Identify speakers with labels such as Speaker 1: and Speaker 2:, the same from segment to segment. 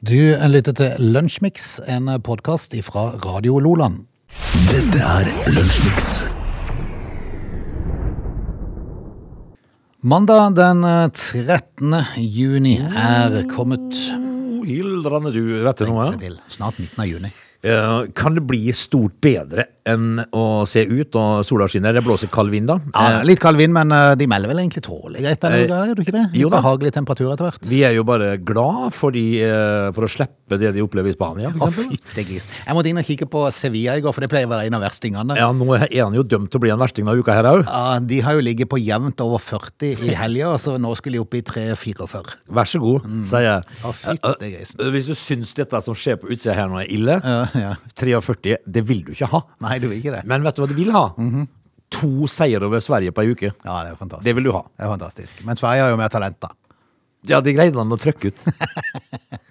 Speaker 1: Du lytter til Lunsjmix, en podkast fra Radio Loland.
Speaker 2: Dette er Lunsjmix.
Speaker 1: Mandag den eh, 13. juni er kommet
Speaker 2: Ildrende du, vet du noe?
Speaker 1: seg til snart 19. av juni.
Speaker 2: Eh, Kan det bli stort bedre enn å se ut og sola skinner? Det blåser kald vind da. Eh,
Speaker 1: Ja, litt kald vind, men eh, de melder vel egentlig tålelig greit denne
Speaker 2: Eh,
Speaker 1: uka, gjør du ikke det?
Speaker 2: jo
Speaker 1: Litt
Speaker 2: da.
Speaker 1: behagelig temperatur etter hvert.
Speaker 2: Vi er jo bare glad for, de, eh, for å slippe det de opplever i Spania. for
Speaker 1: Å,
Speaker 2: eksempel.
Speaker 1: fytte gris. Jeg måtte inn og kikke på Sevilla i går, for det pleier å være en av verstingene. Ja.
Speaker 2: Ja, nå er han jo dømt til å bli en versting denne uka her òg.
Speaker 1: de har jo ligget på jevnt over 40 i helga, så nå skulle de opp i 3-44.
Speaker 2: Vær så god, sier jeg.
Speaker 1: Mm. Å, fytte grisen.
Speaker 2: Eh, eh, Hvis du syns dette som skjer på utsida her nå er ille,
Speaker 1: Ja, ja.
Speaker 2: 43, det vil du ikke ha.
Speaker 1: Nei, du vil ikke det.
Speaker 2: Men vet du hva du vil ha?
Speaker 1: Mhm.
Speaker 2: To seier over Sverige på ei uke.
Speaker 1: Ja, det er fantastisk.
Speaker 2: Det vil du ha.
Speaker 1: Det er fantastisk. Men Sverige har jo mer talent, da.
Speaker 2: Ja, det greide han å trøkke ut.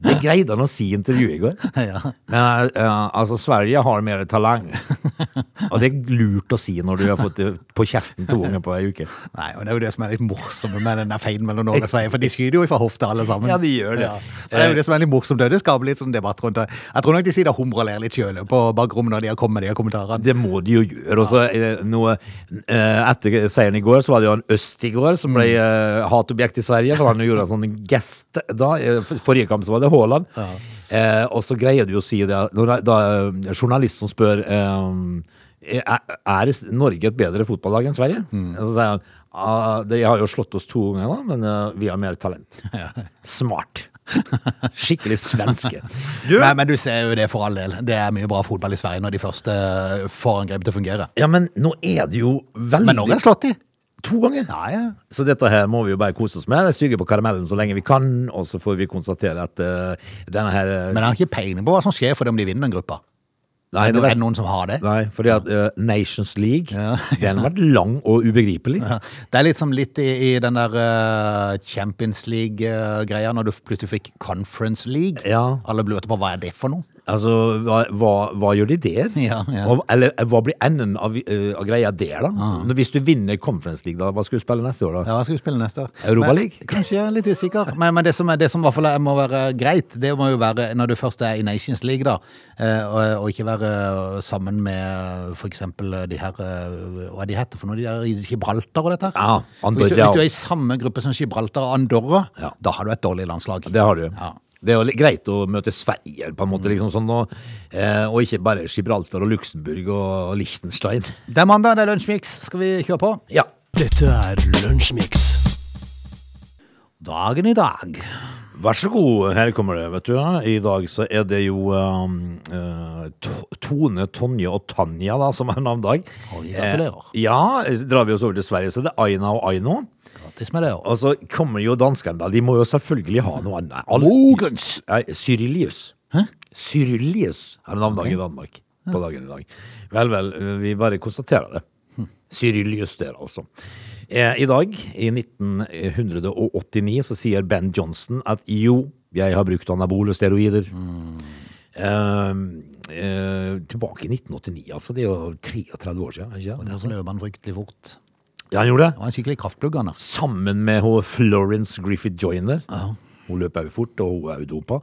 Speaker 2: Det greide han å si i intervjuet i går.
Speaker 1: Ja.
Speaker 2: Men eh, altså, Sverige har mer talent. Og det er lurt å si når du har fått det på kjeften to ganger på ei uke.
Speaker 1: Nei, og det er jo det som er litt morsomt med den der feiden mellom Norge og Sverige, for de skyter jo ifra hofta alle sammen.
Speaker 2: Ja, de gjør det. Eh.
Speaker 1: Og det er jo det som er litt morsomt, det skaper litt sånn debatt rundt det. Jeg tror nok de sitter og humrer og ler litt sjøl på bakrommet når de har kommet med de her kommentarene.
Speaker 2: Det må de jo gjøre. Og så eh, noe eh, Etter seieren i går, så var det jo en øst i går som ble eh, hatobjekt i Sverige. For han gjorde en sånn gest da. eh, for- Forrige kamp så var det Haaland. Eh, og så greier du å si det når da eh, journalisten spør eh, er, er Norge et bedre fotballag enn Sverige? Og Så sier han ah, de har jo slått oss to ganger, da, men eh, vi har mer talent. Smart. Skikkelig svenske. Du,
Speaker 1: Nei, men du ser jo det for all del. Det er mye bra fotball i Sverige når de første eh, får angrepet til å fungere.
Speaker 2: ja, men nå er det jo
Speaker 1: Men Norge
Speaker 2: veldig
Speaker 1: har slått de.
Speaker 2: To ganger.
Speaker 1: Ja, ja.
Speaker 2: Så dette her må vi jo bare kose oss med. Det suger på karamellen så lenge vi kan, og så får vi konstatere at eh, denne her eh,
Speaker 1: Men jeg har ikke peiling på hva som skjer for dem om de vinner den gruppa.
Speaker 2: nei,
Speaker 1: Er
Speaker 2: det
Speaker 1: det
Speaker 2: vet-
Speaker 1: noen som har det?
Speaker 2: nei, fordi at eh, Nations League, den har vært lang og ubegripelig.
Speaker 1: Ja. Det er liksom litt i, i den der eh, Champions League-greia, når du plutselig fikk Conference League.
Speaker 2: Ja.
Speaker 1: Alle lurte på hva er det for noe?
Speaker 2: Altså, hva, hva, hva gjør de der?
Speaker 1: Ja, ja. Ah.
Speaker 2: Og, eller eh, hva blir enden av, eh, av greia der, da? Når- Hvis du vinner Conference League, da, hva skal du spille neste år, da?
Speaker 1: Ja, hva skal vi spille neste år?
Speaker 2: Europa
Speaker 1: Men-
Speaker 2: League?
Speaker 1: Kanskje jeg er litt usikker. Men, men det, som er, det som i hvert fall er- må være greit, det må jo være når du først er i Nations League, da, eh, og, og ikke være eh, sammen med for eksempel de her eh, Hva er de heter for noe? De der i Gibraltar og dette her?
Speaker 2: Ja, Andorra.
Speaker 1: Hvis du, hvis du er i samme gruppe som Gibraltar og Andorra,
Speaker 2: Ja.
Speaker 1: da har du et dårlig landslag.
Speaker 2: Det har du.
Speaker 1: Ja.
Speaker 2: Det er jo litt greit å møte Sverige, på en måte, liksom sånn, og, eh, og ikke bare Gibraltar og Luxembourg og Liechtenstein.
Speaker 1: Det er mandag, det er Lunsjmix. Skal vi kjøre på?
Speaker 2: Ja.
Speaker 3: Dette er Lunsjmix.
Speaker 1: Dagen i dag.
Speaker 2: Vær så god, her kommer det, vet du. I dag så er det jo um, eh, To- Tone, Tonje og Tanja da, som er navndag.
Speaker 1: Oi, gratulerer.
Speaker 2: Eh, ja, så drar vi oss over til Sverige, så det er Aina og Aino.
Speaker 1: Grattis med det. og-
Speaker 2: Og så kommer jo danskene, da. De må jo selvfølgelig ha noe annet. Alle-
Speaker 1: Mogens!
Speaker 2: Nei, Cyrilius. Hæ? Cyrilius er navndag i Danmark på dagen i dag. Vel, vel, vi bare konstaterer det. Cyrilius der, altså. Eh, I dag, i 1989, så sier Ben Johnson at jo, jeg har brukt anabole steroider. Eh, eh, tilbake i 1989, altså. Det er jo 33 år siden. er Ikke? det?
Speaker 1: Derfor løp han fryktelig fort.
Speaker 2: Ja, han gjorde det
Speaker 1: Det var en skikkelig kraftplugg, han. da.
Speaker 2: sammen med hun Florence Griffith Joyner. Hun løp også fort, og hun er jo dopa.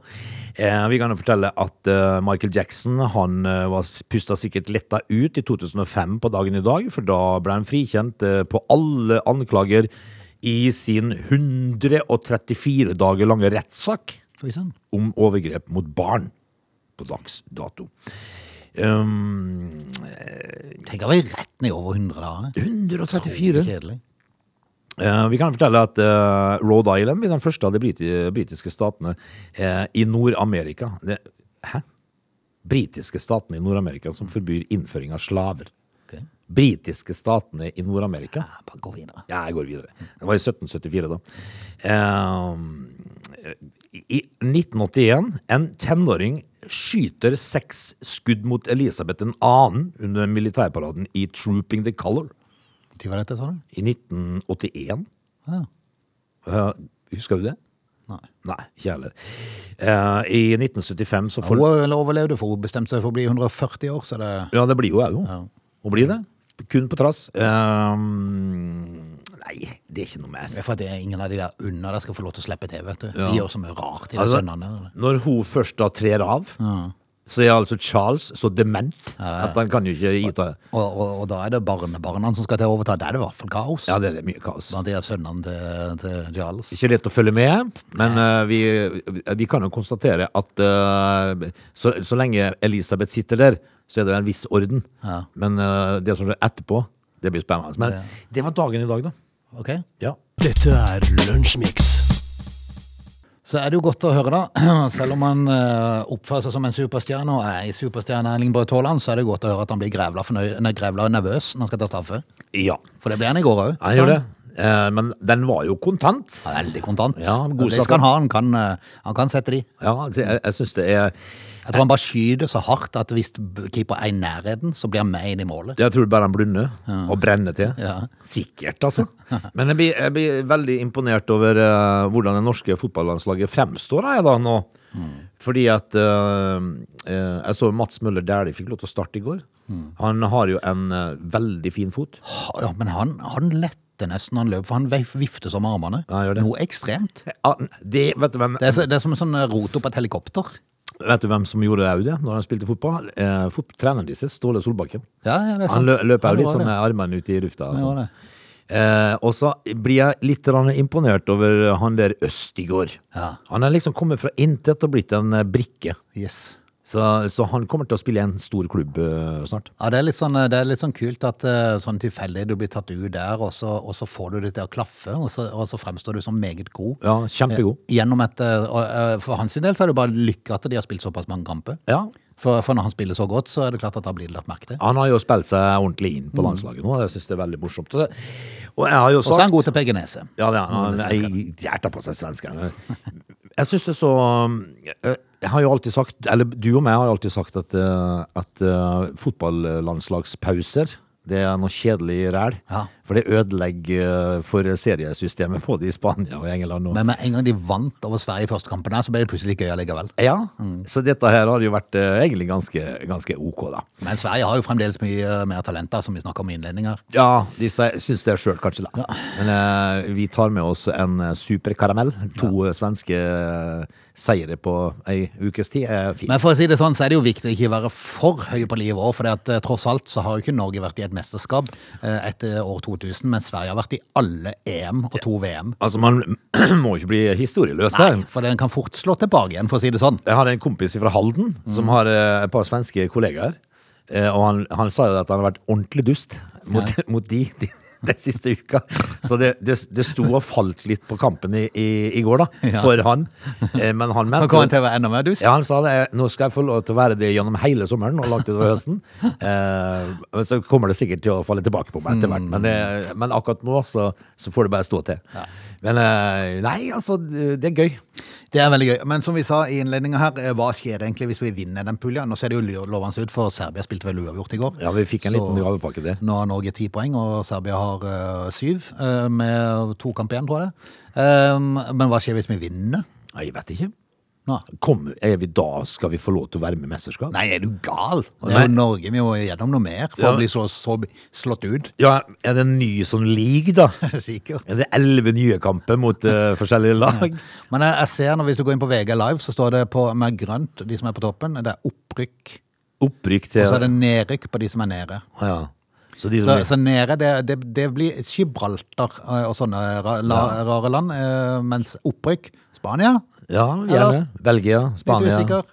Speaker 2: Eh, vi kan jo fortelle at eh, Michael Jackson han eh, var pusta sikkert letta ut i 2005 på dagen i dag, for da ble han frikjent eh, på alle anklager i sin 134 dager lange rettssak
Speaker 1: Fy søren.
Speaker 2: om overgrep mot barn på dags dato. Um,
Speaker 1: Tenk å være rett ned over 100 dager.
Speaker 2: 134
Speaker 1: Kjedelig.
Speaker 2: Eh, vi kan fortelle at eh, Rhode Island blir den første av de briti britiske statene eh, i Nord-Amerika. Det- Hæ? Britiske statene i Nord-Amerika som forbyr innføring av slaver.
Speaker 1: Ok.
Speaker 2: Britiske statene i Nord-Amerika.
Speaker 1: Ja, bare gå videre.
Speaker 2: Ja, jeg går videre. Det var i 1774, da. Eh, I 1981, en tenåring skyter seks skudd mot Elisabeth 2. under militærparaden i Trooping the Color
Speaker 1: Når var dette, sa du?
Speaker 2: i 1981.
Speaker 1: Ja.
Speaker 2: Eh, husker du det?
Speaker 1: Nei.
Speaker 2: Nei, ikke heller. Eh, I 1975 så får...
Speaker 1: Hun overlevde, for hun bestemte seg for å bli 140 år, så det
Speaker 2: Ja, det blir jo jeg jo.
Speaker 1: Ja.
Speaker 2: Hun blir det. Kun på trass. Eh, nei, Nei, det er ikke noe mer.
Speaker 1: Det er for at det er ingen av de der under der skal få lov til å slippe TV. vet du.
Speaker 2: Ja.
Speaker 1: De gjør så mye rart, de der
Speaker 2: Altså,
Speaker 1: sønnene. eller?
Speaker 2: når hun først da trer av, så er altså Charles så dement at han kan jo ikke yte
Speaker 1: Og, og, og da er det barnebarna som skal til å overta. Da er det i hvert fall kaos.
Speaker 2: Ja, det er mye kaos.
Speaker 1: Blant de der sønnene til, til Giles.
Speaker 2: Ikke lett å følge med, men eh, vi, vi kan jo konstatere at eh, så, så lenge Elisabeth sitter der, så er det en viss orden.
Speaker 1: Ja.
Speaker 2: Men eh, det som er etterpå, det blir spennende. Men det var dagen i dag, da.
Speaker 1: Ok?
Speaker 2: Ja.
Speaker 3: Dette er Lunsjmix.
Speaker 1: Så er det jo godt å høre, da. Selv om han eh, oppfører seg som en superstjerne og er ei superstjerne, Erling Braut Haaland, så er det godt å høre at han blir grevla, fornøyd, nei, grevla nervøs når han skal ta straffe.
Speaker 2: ja.
Speaker 1: For det ble han i går òg.
Speaker 2: Han gjør det. Eh, men den var jo kontant.
Speaker 1: Veldig kontant.
Speaker 2: Ja,
Speaker 1: Og
Speaker 2: god
Speaker 1: det
Speaker 2: straffe.
Speaker 1: skal han ha. Han kan, eh, han kan sette de.
Speaker 2: Ja, altså, jeg, jeg syns det er
Speaker 1: Jeg tror han bare skyter så hardt at hvis b- keeper er i nærheten, så blir han med inn i målet.
Speaker 2: Jeg tror bare han blunder og brenner til.
Speaker 1: Ja.
Speaker 2: Sikkert, altså. Men jeg blir, jeg blir veldig imponert over eh, hvordan det norske fotballandslaget fremstår jeg da nå.
Speaker 1: Mm.
Speaker 2: Fordi at eh, eh, Jeg så Mats Møller Dæhlie fikk lov til å starte i går.
Speaker 1: Mm.
Speaker 2: Han har jo en eh, veldig fin fot.
Speaker 1: Ha- Ja, men han, han lette nesten han løp, for han veif- vifter som med armene.
Speaker 2: Ja, han gjør det.
Speaker 1: Noe ekstremt.
Speaker 2: Ja, Det, vet, du, hvem,
Speaker 1: Det er, så, det er som en sånn eh, rot opp et helikopter.
Speaker 2: vet du hvem som gjorde det òg, det, når han spilte fotball? Eh, fot, treneren deres, Ståle Solbakken.
Speaker 1: Ja, ja, det er sant.
Speaker 2: Han lø, løper
Speaker 1: Han
Speaker 2: jo litt
Speaker 1: var
Speaker 2: sånn
Speaker 1: det.
Speaker 2: med armene ute i lufta.
Speaker 1: Han
Speaker 2: og
Speaker 1: var
Speaker 2: sånn.
Speaker 1: det.
Speaker 2: Eh, og så blir jeg litt grann imponert over han der Østigård.
Speaker 1: Ja.
Speaker 2: Han er liksom kommet fra intet og blitt en eh, brikke.
Speaker 1: Yes.
Speaker 2: Så, så han kommer til å spille i en stor klubb eh, snart.
Speaker 1: Ja, det er litt sånn, eh, det er litt sånn kult at eh, sånn tilfeldig du blir tatt ut der, og så, og så får du det til å klaffe, og så, og så fremstår du som meget god.
Speaker 2: Ja, kjempegod.
Speaker 1: Gjennom et, eh, og, eh, for hans del så er det bare lykke at de har spilt såpass mange kamper.
Speaker 2: Ja.
Speaker 1: For, for når han spiller så godt, så er det klart at da blir det lagt merke til.
Speaker 2: Han har jo spilt seg ordentlig inn på landslaget nå, og jeg syns det er veldig morsomt. Og jeg har jo
Speaker 1: Og så er han
Speaker 2: sagt
Speaker 1: god til Peggy Nese.
Speaker 2: Ja, det er han. Han hjertet på seg svenskene. Jeg syns det er så eh, Jeg har jo alltid sagt, eller du og meg har alltid sagt at, eh, at eh, fotballandslagspauser det er noe kjedelig ræl.
Speaker 1: Ja.
Speaker 2: For det ødelegger eh, for seriesystemet både i Spania og England. Og,
Speaker 1: Men med en gang de vant over Sverige i første kampen her, så ble det plutselig gøy allikevel.
Speaker 2: ja, Så dette her har jo vært eh, egentlig ganske, ganske ok, da.
Speaker 1: Men Sverige har jo fremdeles mye eh, mer talenter, som vi snakker om i innledninger.
Speaker 2: Ja, de sier- syns det sjøl, kanskje. da. Men eh, vi tar med oss en eh, superkaramell. To eh, svenske eh, seire på ei ukes tid er fint.
Speaker 1: Men for å si det sånn, så er det jo viktig å ikke være for høy på livet òg, for at, eh, tross alt så har jo ikke Norge vært i et mesterskap eh, etter år 2000, men Sverige har vært i alle EM og to VM.
Speaker 2: Altså, man må ikke bli historieløs her.
Speaker 1: Nei, for den kan fort slå tilbake igjen, for å si det sånn.
Speaker 2: Jeg har en kompis fra Halden
Speaker 1: Mm.
Speaker 2: som har eh, et par svenske kollegaer. eh, Og han, han sa jo at han har vært ordentlig dust mot, mot de, de den siste uka. Så det, det, det sto og falt litt på kampen i, i, i går, da.
Speaker 1: Ja.
Speaker 2: For han. Eh, Men han
Speaker 1: Nå kommer han
Speaker 2: mente
Speaker 1: til å være enda mer dust.
Speaker 2: ja, han sa det. Nå skal jeg få lov til å være det gjennom hele sommeren og langt utover høsten. Eh, men så kommer det sikkert til å falle tilbake på meg etter hvert.
Speaker 1: Mm.
Speaker 2: Men, det, men akkurat nå så, så får det bare stå til. Men eh, nei, altså, det er gøy.
Speaker 1: Det er veldig gøy. Men som vi sa i innledninga her, eh, hva skjer egentlig hvis vi vinner den puljen? Nå ser det jo lu- lovende ut, for Serbia spilte vel uavgjort i går.
Speaker 2: Ja, vi fikk en
Speaker 1: Så-
Speaker 2: liten gavepakke til.
Speaker 1: Nå har Norge ti poeng, og Serbia har eh, syv, eh, med to kamper igjen, tror jeg. Um, men hva skjer hvis vi vinner?
Speaker 2: Nei, jeg vet ikke.
Speaker 1: Nå?
Speaker 2: Kommer, er vi da, skal vi få lov til å være med i mesterskap?
Speaker 1: Nei, er du gal? Det er jo
Speaker 2: Nei.
Speaker 1: Norge, vi må gjennom noe mer for
Speaker 2: Ja.
Speaker 1: å bli så, så slått ut.
Speaker 2: Ja, er det en ny sånn league da?
Speaker 1: Sikkert.
Speaker 2: Er det elleve nye kamper mot eh, forskjellige lag?
Speaker 1: Men jeg, jeg ser, når, hvis du går inn på VG Live, så står det på, med grønt, de som er på toppen, det er opprykk.
Speaker 2: Opprykk
Speaker 1: Og
Speaker 2: til
Speaker 1: så er det nedrykk på de som er nede.
Speaker 2: Å, ja. Så de
Speaker 1: Så,
Speaker 2: som
Speaker 1: så nede, det, det, det blir Gibraltar eh, og sånne ra, la, rare land, eh, mens opprykk Spania?
Speaker 2: Ja, gjerne.
Speaker 1: Eller-
Speaker 2: Belgia,
Speaker 1: Litt
Speaker 2: Spania.
Speaker 1: usikker.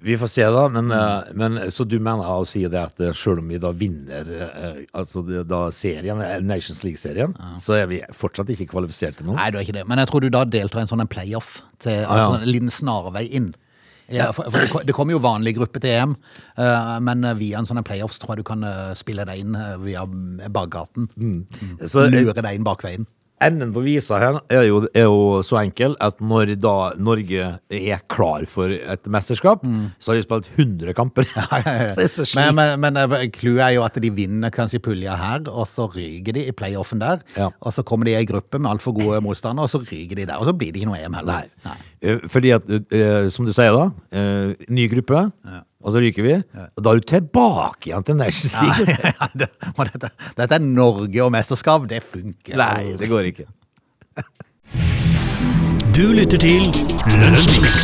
Speaker 2: Vi får se, da. Men, eh, men så du mener å si det at eh, selv om vi da vinner eh, altså det, da serien, eh, Nations League-serien, så er vi fortsatt ikke kvalifisert til noe?
Speaker 1: Nei, du er ikke det. Men jeg tror du da deltar i en sånn en playoff. Til, altså en liten snarvei inn. Ja, for, for det ko- det kommer jo vanlig gruppe til EM, eh, men via en sånn en playoff så tror jeg du kan eh, spille deg inn eh, via bakgaten.
Speaker 2: Så, eh,
Speaker 1: Lure deg inn bakveien.
Speaker 2: Enden på visa her er jo, er jo så enkel at når da Norge er klar for et mesterskap, så har de spilt 100 kamper. Så det er så
Speaker 1: Men,
Speaker 2: slik.
Speaker 1: men, men eh, clouet er jo at de vinner kanskje pulja her, og så ryker de i playoffen der.
Speaker 2: Ja.
Speaker 1: Og så kommer de i ei gruppe med altfor gode motstandere, og så ryker de der. Og så blir det ikke noe EM heller.
Speaker 2: Nei. Eh, Fordi at, eh, som du sier da, eh, ny gruppe, og så ryker vi. Og da er du tilbake igjen til Nations League.
Speaker 1: Ja, det, men dette, dette er Norge og mesterskap, det funker.
Speaker 2: Nei, det går ikke.
Speaker 3: Du lytter til Lunsjmix.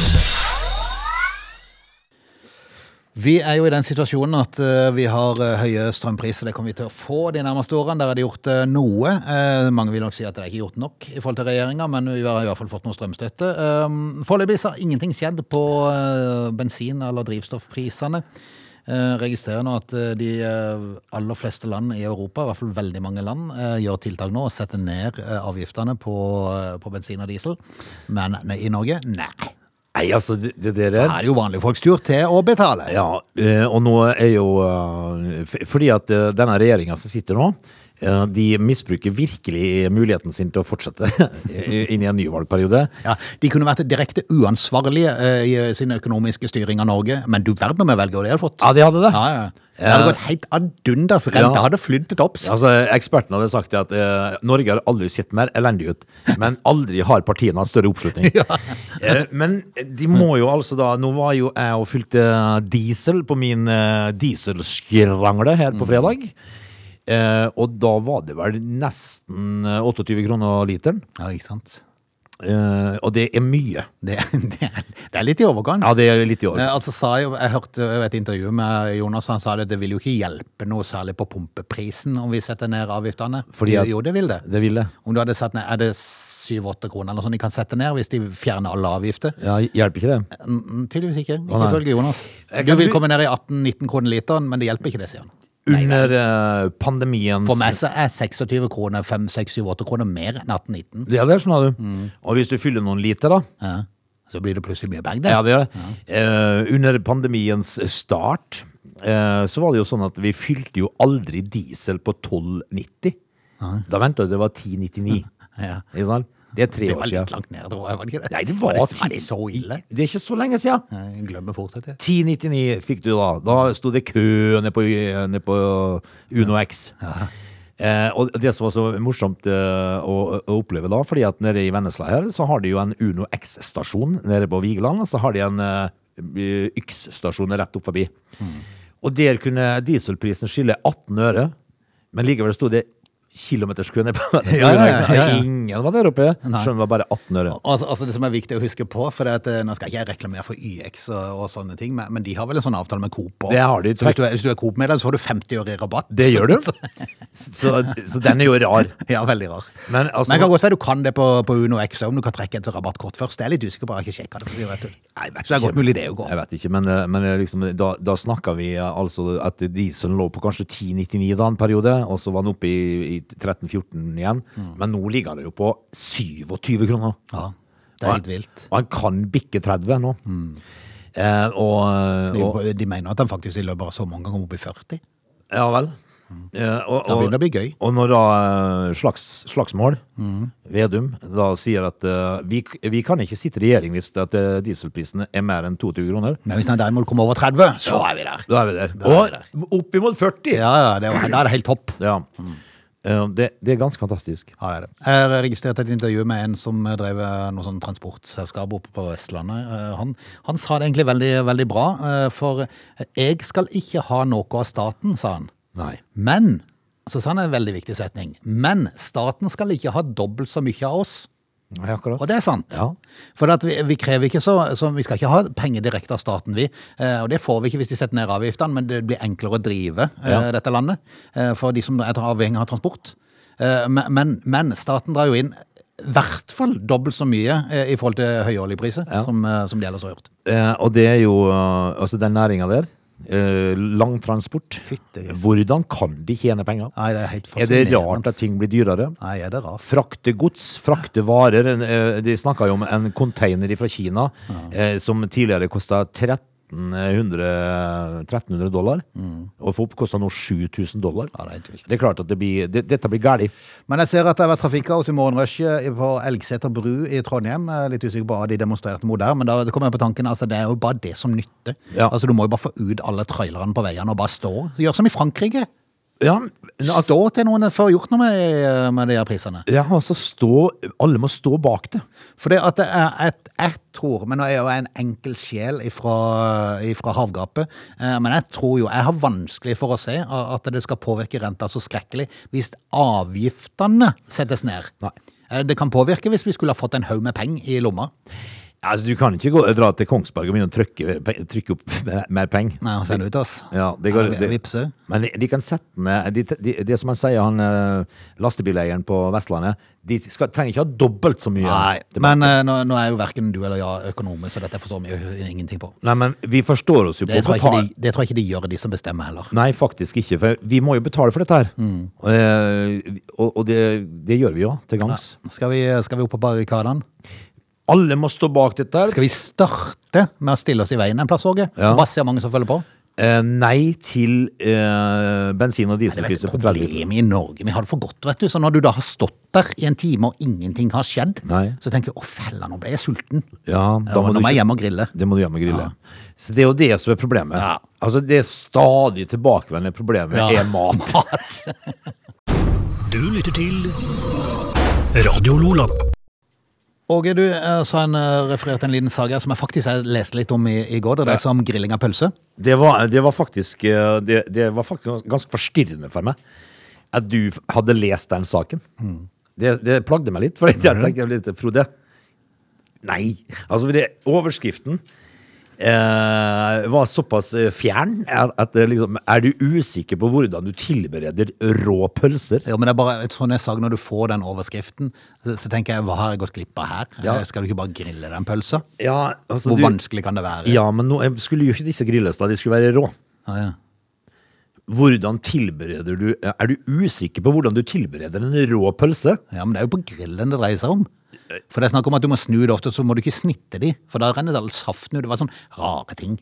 Speaker 1: Vi er jo i den situasjonen at eh, vi har eh, høye strømpriser. Det kommer vi til å få de nærmeste årene. Der er det gjort eh, noe. Eh, mange vil nok si at det er ikke gjort nok i forhold til regjeringa, men vi har i hvert fall fått noe strømstøtte. Um, Foreløpig så har ingenting skjedd på eh, bensin- eller drivstoffprisene. Eh, registrerer nå at eh, de eh, aller fleste land i Europa, i hvert fall veldig mange land, eh, gjør tiltak nå og setter ned eh, avgiftene på, eh, på bensin og diesel. Men nei, i Norge, nei.
Speaker 2: Nei, altså, det, det der
Speaker 1: Da er det jo vanlige folks tur til å betale.
Speaker 2: Ja, eh, og nå er jo eh, f- Fordi at eh, denne regjeringa som sitter nå, eh, de misbruker virkelig muligheten sin til å fortsette inn i en ny valgperiode.
Speaker 1: Ja, De kunne vært direkte uansvarlige eh, i sin økonomiske styring av Norge, men du verden om jeg velger hva de hadde fått.
Speaker 2: Ja, de hadde det.
Speaker 1: Ja, ja. Det hadde gått helt ad undas. Renta
Speaker 2: Ja.
Speaker 1: hadde flyttet opp.
Speaker 2: Altså, Ekspertene hadde sagt at eh, Norge har aldri sett mer elendig ut, men aldri har partiene hatt større oppslutning. Eh, men de må jo altså da Nå var jo jeg og fylte eh, diesel på min eh, dieselskrangle her
Speaker 1: Mm.
Speaker 2: på fredag. Eh, og da var det vel nesten eh, 28 kroner literen.
Speaker 1: Ja, ikke sant?
Speaker 2: Eh, og det er mye.
Speaker 1: Det, det, er, det er litt i overkant.
Speaker 2: Ja, det er litt i år.
Speaker 1: Eh, Altså, sa jeg, jeg hørte jo et intervju med Jonas, han sa det, det vil jo ikke hjelpe noe særlig på pumpeprisen om vi setter ned avgiftene.
Speaker 2: Fordi at-
Speaker 1: jo, det vil det.
Speaker 2: Det vil jeg.
Speaker 1: Om du hadde satt ned, Er det 7-8 kroner eller noe sånt de kan sette ned hvis de fjerner alle avgifter?
Speaker 2: Ja, hjelper ikke det?
Speaker 1: Mm, Tydeligvis ikke. Ikke
Speaker 2: nei.
Speaker 1: ifølge Jonas.
Speaker 2: Jeg
Speaker 1: Du
Speaker 2: kan
Speaker 1: vil
Speaker 2: bry-
Speaker 1: komme ned i 18-19 kroner literen, men det hjelper ikke det, sier han.
Speaker 2: Under eh, pandemiens
Speaker 1: For meg så er 26 kroner 5-6-7-8 kroner mer enn 18-19.
Speaker 2: Ja, det skjønner du.
Speaker 1: Mm.
Speaker 2: Og hvis du fyller noen liter, da.
Speaker 1: Ja. Så blir det plutselig mye bag, det.
Speaker 2: Ja, det gjør det. Eh, under pandemiens start eh, så var det jo sånn at vi fylte jo aldri diesel på 12,90. Da venta du det var 10,99.
Speaker 1: Ja.
Speaker 2: Ikke sant? Det er tre
Speaker 1: Det
Speaker 2: år
Speaker 1: var
Speaker 2: siden.
Speaker 1: litt langt ned, tror jeg. Var det ikke det?
Speaker 2: Nei, det var,
Speaker 1: var, det, var det så ille?
Speaker 2: Det er ikke så lenge siden.
Speaker 1: Nei, Jeg glemmer fort dette.
Speaker 2: 10,99 fikk du da. Da sto det kø nede på, ned på Uno X. Eh, og det som var så morsomt eh, å, å oppleve da, fordi at nede i Vennesla her, så har de jo en Uno X-stasjon nede på Vigeland, og så har de en eh, Yx-stasjon rett opp forbi.
Speaker 1: Hmm.
Speaker 2: Og der kunne dieselprisen skille 18 øre, men likevel sto det kilometerskø nede på Vennesla.
Speaker 1: Ja, ja, ja, ja.
Speaker 2: Ingen var der oppe, skjønner det var bare 18 øre.
Speaker 1: Altså, altså Det som er viktig å huske på, for det at, eh, nå skal ikke jeg reklamere for YX og, og sånne ting, men, men de har vel en sånn avtale med Coop? Og,
Speaker 2: Det har de.
Speaker 1: Så hvis du er, hvis du er Coop-medlem, så får du 50 øre i rabatt.
Speaker 2: Det gjør du.
Speaker 1: Så-
Speaker 2: Så, så den er jo rar.
Speaker 1: ja, veldig rar.
Speaker 2: Men altså-
Speaker 1: det kan godt være du kan det på, på Uno X, om du kan trekke et rabattkort først. Det er jeg litt usikker på, jeg har ikke sjekka det. for å si rett ut.
Speaker 2: Nei, jeg vet
Speaker 1: Så det er
Speaker 2: ikke.
Speaker 1: godt mulig det jo går.
Speaker 2: Jeg vet ikke, men, eh, men eh, liksom, da, da snakka vi eh, altså at dieselen lå på kanskje 10,99 da en periode, og så var den oppe i, i 13-14 igjen.
Speaker 1: Mm.
Speaker 2: Men nå ligger det jo på 27 kroner.
Speaker 1: Ja, det er helt vilt. Mm.
Speaker 2: Og han kan bikke 30 nå. Eh, og, og
Speaker 1: De, de mener at han faktisk i løpet av sommeren kan komme opp i 40.
Speaker 2: Ja vel. Eh, og,
Speaker 1: Da
Speaker 2: og,
Speaker 1: begynner Mm. det å bli gøy. Mm.
Speaker 2: og når da eh, slags, Slagsmål, Vedum, da sier at eh, vi, k- vi kan ikke sitte i regjering hvis at, eh, dieselprisene er mer enn 22 kroner.
Speaker 1: Men hvis han derimot kommer over 30, så er vi der.
Speaker 2: Da er vi der.
Speaker 1: Da er vi
Speaker 2: Og oppimot 40!
Speaker 1: Ja, ja, det, er- da er det helt topp.
Speaker 2: Ja.
Speaker 1: Mm.
Speaker 2: Eh, Det, det er ganske fantastisk.
Speaker 1: Ja, det er det. Jeg registrerte et intervju med en som drev eh, noe sånn transportselskap oppe på Vestlandet. Eh, Han, han sa det egentlig veldig, veldig bra, eh, for jeg skal ikke ha noe av staten, sa han.
Speaker 2: Nei.
Speaker 1: Men, så sa han en veldig viktig setning, men staten skal ikke ha dobbelt så mye av oss.
Speaker 2: Nei, akkurat.
Speaker 1: Og det er sant.
Speaker 2: Ja.
Speaker 1: For at vi, vi krever ikke så, så Vi skal ikke ha penger direkte av staten, vi. Eh, og det får vi ikke hvis de setter ned avgiftene, men det blir enklere å drive eh,
Speaker 2: Ja.
Speaker 1: dette landet eh, for de som er avhengig av transport. Eh, men, men, men staten drar jo inn i hvert fall dobbelt så mye eh, i forhold til høye oljepriser
Speaker 2: Ja.
Speaker 1: som, eh, som de ellers har gjort.
Speaker 2: Eh, og det er jo eh, Altså, den næringa der. eh, Langtransport.
Speaker 1: Fytti grisen.
Speaker 2: Hvordan kan de tjene penger?
Speaker 1: Nei, det er helt
Speaker 2: Er det
Speaker 1: fascinerende.
Speaker 2: rart at ting blir dyrere?
Speaker 1: Nei, er det rart?
Speaker 2: Frakte gods, frakte varer. En, eh, De snakka jo om en container fra Kina eh, som tidligere kosta 1300, 1300 dollar. Og for opp kosta nå 7000 dollar.
Speaker 1: Mm. Ja, det er helt vilt.
Speaker 2: Det er klart at det blir, det, dette blir galt.
Speaker 1: Men jeg ser at det har vært trafikkaos i morgenrushet på Elgseter bru i Trondheim. Jeg er litt usikker på hva de demonstrerte mot der, men da kom jeg på tanken altså det er jo bare det som nytter.
Speaker 2: Ja.
Speaker 1: Altså Du må jo bare få ut alle trailerne på veiene og bare stå. Gjør som i Frankrike.
Speaker 2: Ja, altså,
Speaker 1: Stå til noen får gjort noe med, med de her prisene.
Speaker 2: ja, altså stå, alle må stå bak det.
Speaker 1: For det at det er et, jeg tror, men nå er jeg jo en enkel sjel ifra, ifra havgapet, eh, men jeg tror jo, jeg har vanskelig for å se a- at det skal påvirke renta så skrekkelig hvis avgiftene settes ned.
Speaker 2: Nei.
Speaker 1: Eh, Det kan påvirke hvis vi skulle ha fått en haug med penger i lomma.
Speaker 2: Altså, du kan ikke gå, dra til Kongsberg og begynne å trykke, pe- trykke opp mer- mer penger.
Speaker 1: Nei, han ser det ut, ass.
Speaker 2: Ja, det går,
Speaker 1: Ja, vi-
Speaker 2: det,
Speaker 1: vipse.
Speaker 2: men de- de kan sette ned de, de, Det er som han sier, han eh, lastebileieren på Vestlandet, de skal, trenger ikke ha dobbelt så mye.
Speaker 1: Nei,
Speaker 2: tilbake.
Speaker 1: men eh, nå, nå er jo hverken du eller jeg økonomer, så dette forstår vi jo ingenting på.
Speaker 2: Nei, men vi forstår oss jo på
Speaker 1: Det
Speaker 2: å
Speaker 1: tror jeg ikke
Speaker 2: betale.
Speaker 1: de, det tror jeg ikke de gjør, de Mm. som bestemmer heller.
Speaker 2: Nei, faktisk ikke, for vi må jo betale for dette her. Eh, og og det, det gjør vi jo, til gangs.
Speaker 1: Skal vi, skal vi opp på barrikadene?
Speaker 2: Alle må stå bak dette her.
Speaker 1: Skal vi starte med å stille oss i veien en plass, Åge?
Speaker 2: Ja.
Speaker 1: Og Bare se hvor mange som følger på.
Speaker 2: Eh, nei til eh, bensin- og
Speaker 1: Det er jo
Speaker 2: dieselpriser
Speaker 1: et
Speaker 2: på 30
Speaker 1: problem i Norge. Vi har det for godt, vet du. Så når du da har stått der i en time og ingenting har skjedd,
Speaker 2: Nei.
Speaker 1: så tenker du 'å, fella, nå ble jeg sulten'.
Speaker 2: Ja, da
Speaker 1: Ja, nå
Speaker 2: må du
Speaker 1: må
Speaker 2: ikke-
Speaker 1: jeg hjem og grille.
Speaker 2: Det må du gjøre med grille. Så det er jo det som er problemet.
Speaker 1: Ja.
Speaker 2: Altså, det stadig tilbakevendende problemet
Speaker 1: Ja.
Speaker 2: er mat.
Speaker 3: Du lytter til Radio Lola.
Speaker 1: Åge, du eh, sa en, eh, refererte en liten saga som jeg faktisk jeg leste litt om i, i går. Det dreier seg om grilling av pølse.
Speaker 2: Det var, det var faktisk eh, det, det var faktisk ganske forstyrrende for meg at du f- hadde lest den saken. Det, det plagde meg litt, for jeg tenkte jeg leste Frode. Nei! Altså, det, overskriften eh, var såpass eh, fjern at, at det liksom Er du usikker på hvordan du tilbereder rå pølser?
Speaker 1: Jo, men det er bare et sånn jeg sa når du får den overskriften, så, så tenker jeg hva har jeg gått glipp av her?
Speaker 2: Ja.
Speaker 1: Eh, Skal du ikke bare grille den pølsa?
Speaker 2: Ja, altså,
Speaker 1: Hvor
Speaker 2: du-
Speaker 1: vanskelig kan det være?
Speaker 2: Ja, men nå jeg skulle jo ikke disse grilles da, de skulle være rå.
Speaker 1: Ah, ja.
Speaker 2: Hvordan tilbereder du eh, Er du usikker på hvordan du tilbereder en rå pølse?
Speaker 1: Ja, men det er jo på grillen det dreier seg om. For det er snakk om at du må snu det ofte, så må du ikke snitte de, for da renner det all saften ut. Det var sånn rare ting.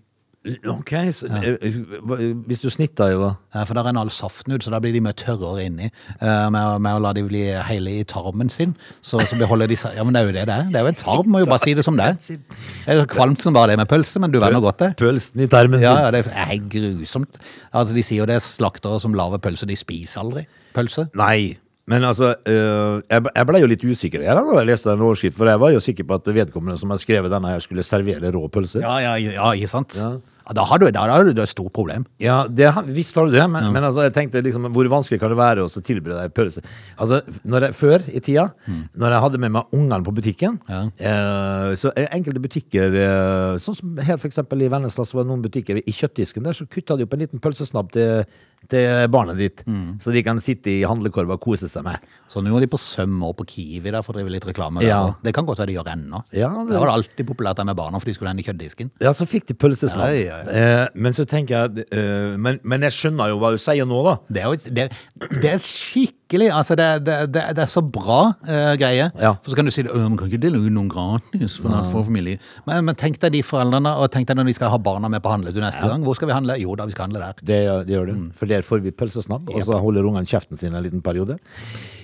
Speaker 2: Ok, så, eh, hva- hvis du snitter jo da
Speaker 1: Ja, For da renner all saften ut, så da blir de mye tørrere inni. eh, Med, å- med å la de bli hele i tarmen sin, så, så beholder de seg Ja, men det er jo det det er. Det er jo en tarm, må jo bare si det som det er. Det er så kvalmt som bare det med pølse, men du venner godt det.
Speaker 2: Pølsen i tarmen
Speaker 1: Ja,
Speaker 2: sin.
Speaker 1: ja, det er helt grusomt. Altså, De sier jo det er slaktere som lager pølse, de spiser aldri pølse.
Speaker 2: Nei, men altså eh, Jeg ble- jeg ble jo litt usikker her da når jeg leste den overskriften, for jeg var jo sikker på at vedkommende som har skrevet denne, her skulle servere rå pølser. Ja,
Speaker 1: Ja, ja, ja, ikke sant?
Speaker 2: Ja.
Speaker 1: Ja, Da har du, da har du et stort problem.
Speaker 2: det, har- visst har du det, men, men altså, jeg tenkte liksom hvor vanskelig kan det være å så tilberede ei pølse? Altså, når jeg, før i tida, når jeg hadde med meg ungene på butikken,
Speaker 1: Mm. Ja.
Speaker 2: Eh, Så eh, enkelte butikker, eh, sånn som her for eksempel i Vennesla, så var det noen butikker i kjøttdisken der, så kutta de opp en liten pølsesnabb til, til barnet ditt,
Speaker 1: Mm.
Speaker 2: så de kan sitte i handlekorva og kose seg med.
Speaker 1: Så nå er de på Sømmer og på Kiwi der for å drive litt reklame. der.
Speaker 2: Ja.
Speaker 1: Det kan godt være de gjør ennå.
Speaker 2: Ja, det-
Speaker 1: det var det alltid populært der med barna, for de skulle hende i kjøttdisken.
Speaker 2: Ja, så fikk de pølsesnabb.
Speaker 1: Ja, ja, ja.
Speaker 2: Eh, Men så tenker jeg, eh, men, men jeg skjønner jo hva du sier nå da.
Speaker 1: Det er, jo, det, det er skikkelig altså det, det, det, det er så bra eh, greie.
Speaker 2: Ja.
Speaker 1: For så kan du si det, «Øh, man kan ikke dele ut noen gratis for, for familie. Men, men tenk deg de foreldrene, og tenk deg når de skal ha barna med på handletur neste gang. Hvor skal vi handle? Jo da, vi skal handle der.
Speaker 2: Det, gjør- det gjør det, for der får vi pølsesnabb, og så holder ungene kjeften sin en liten periode.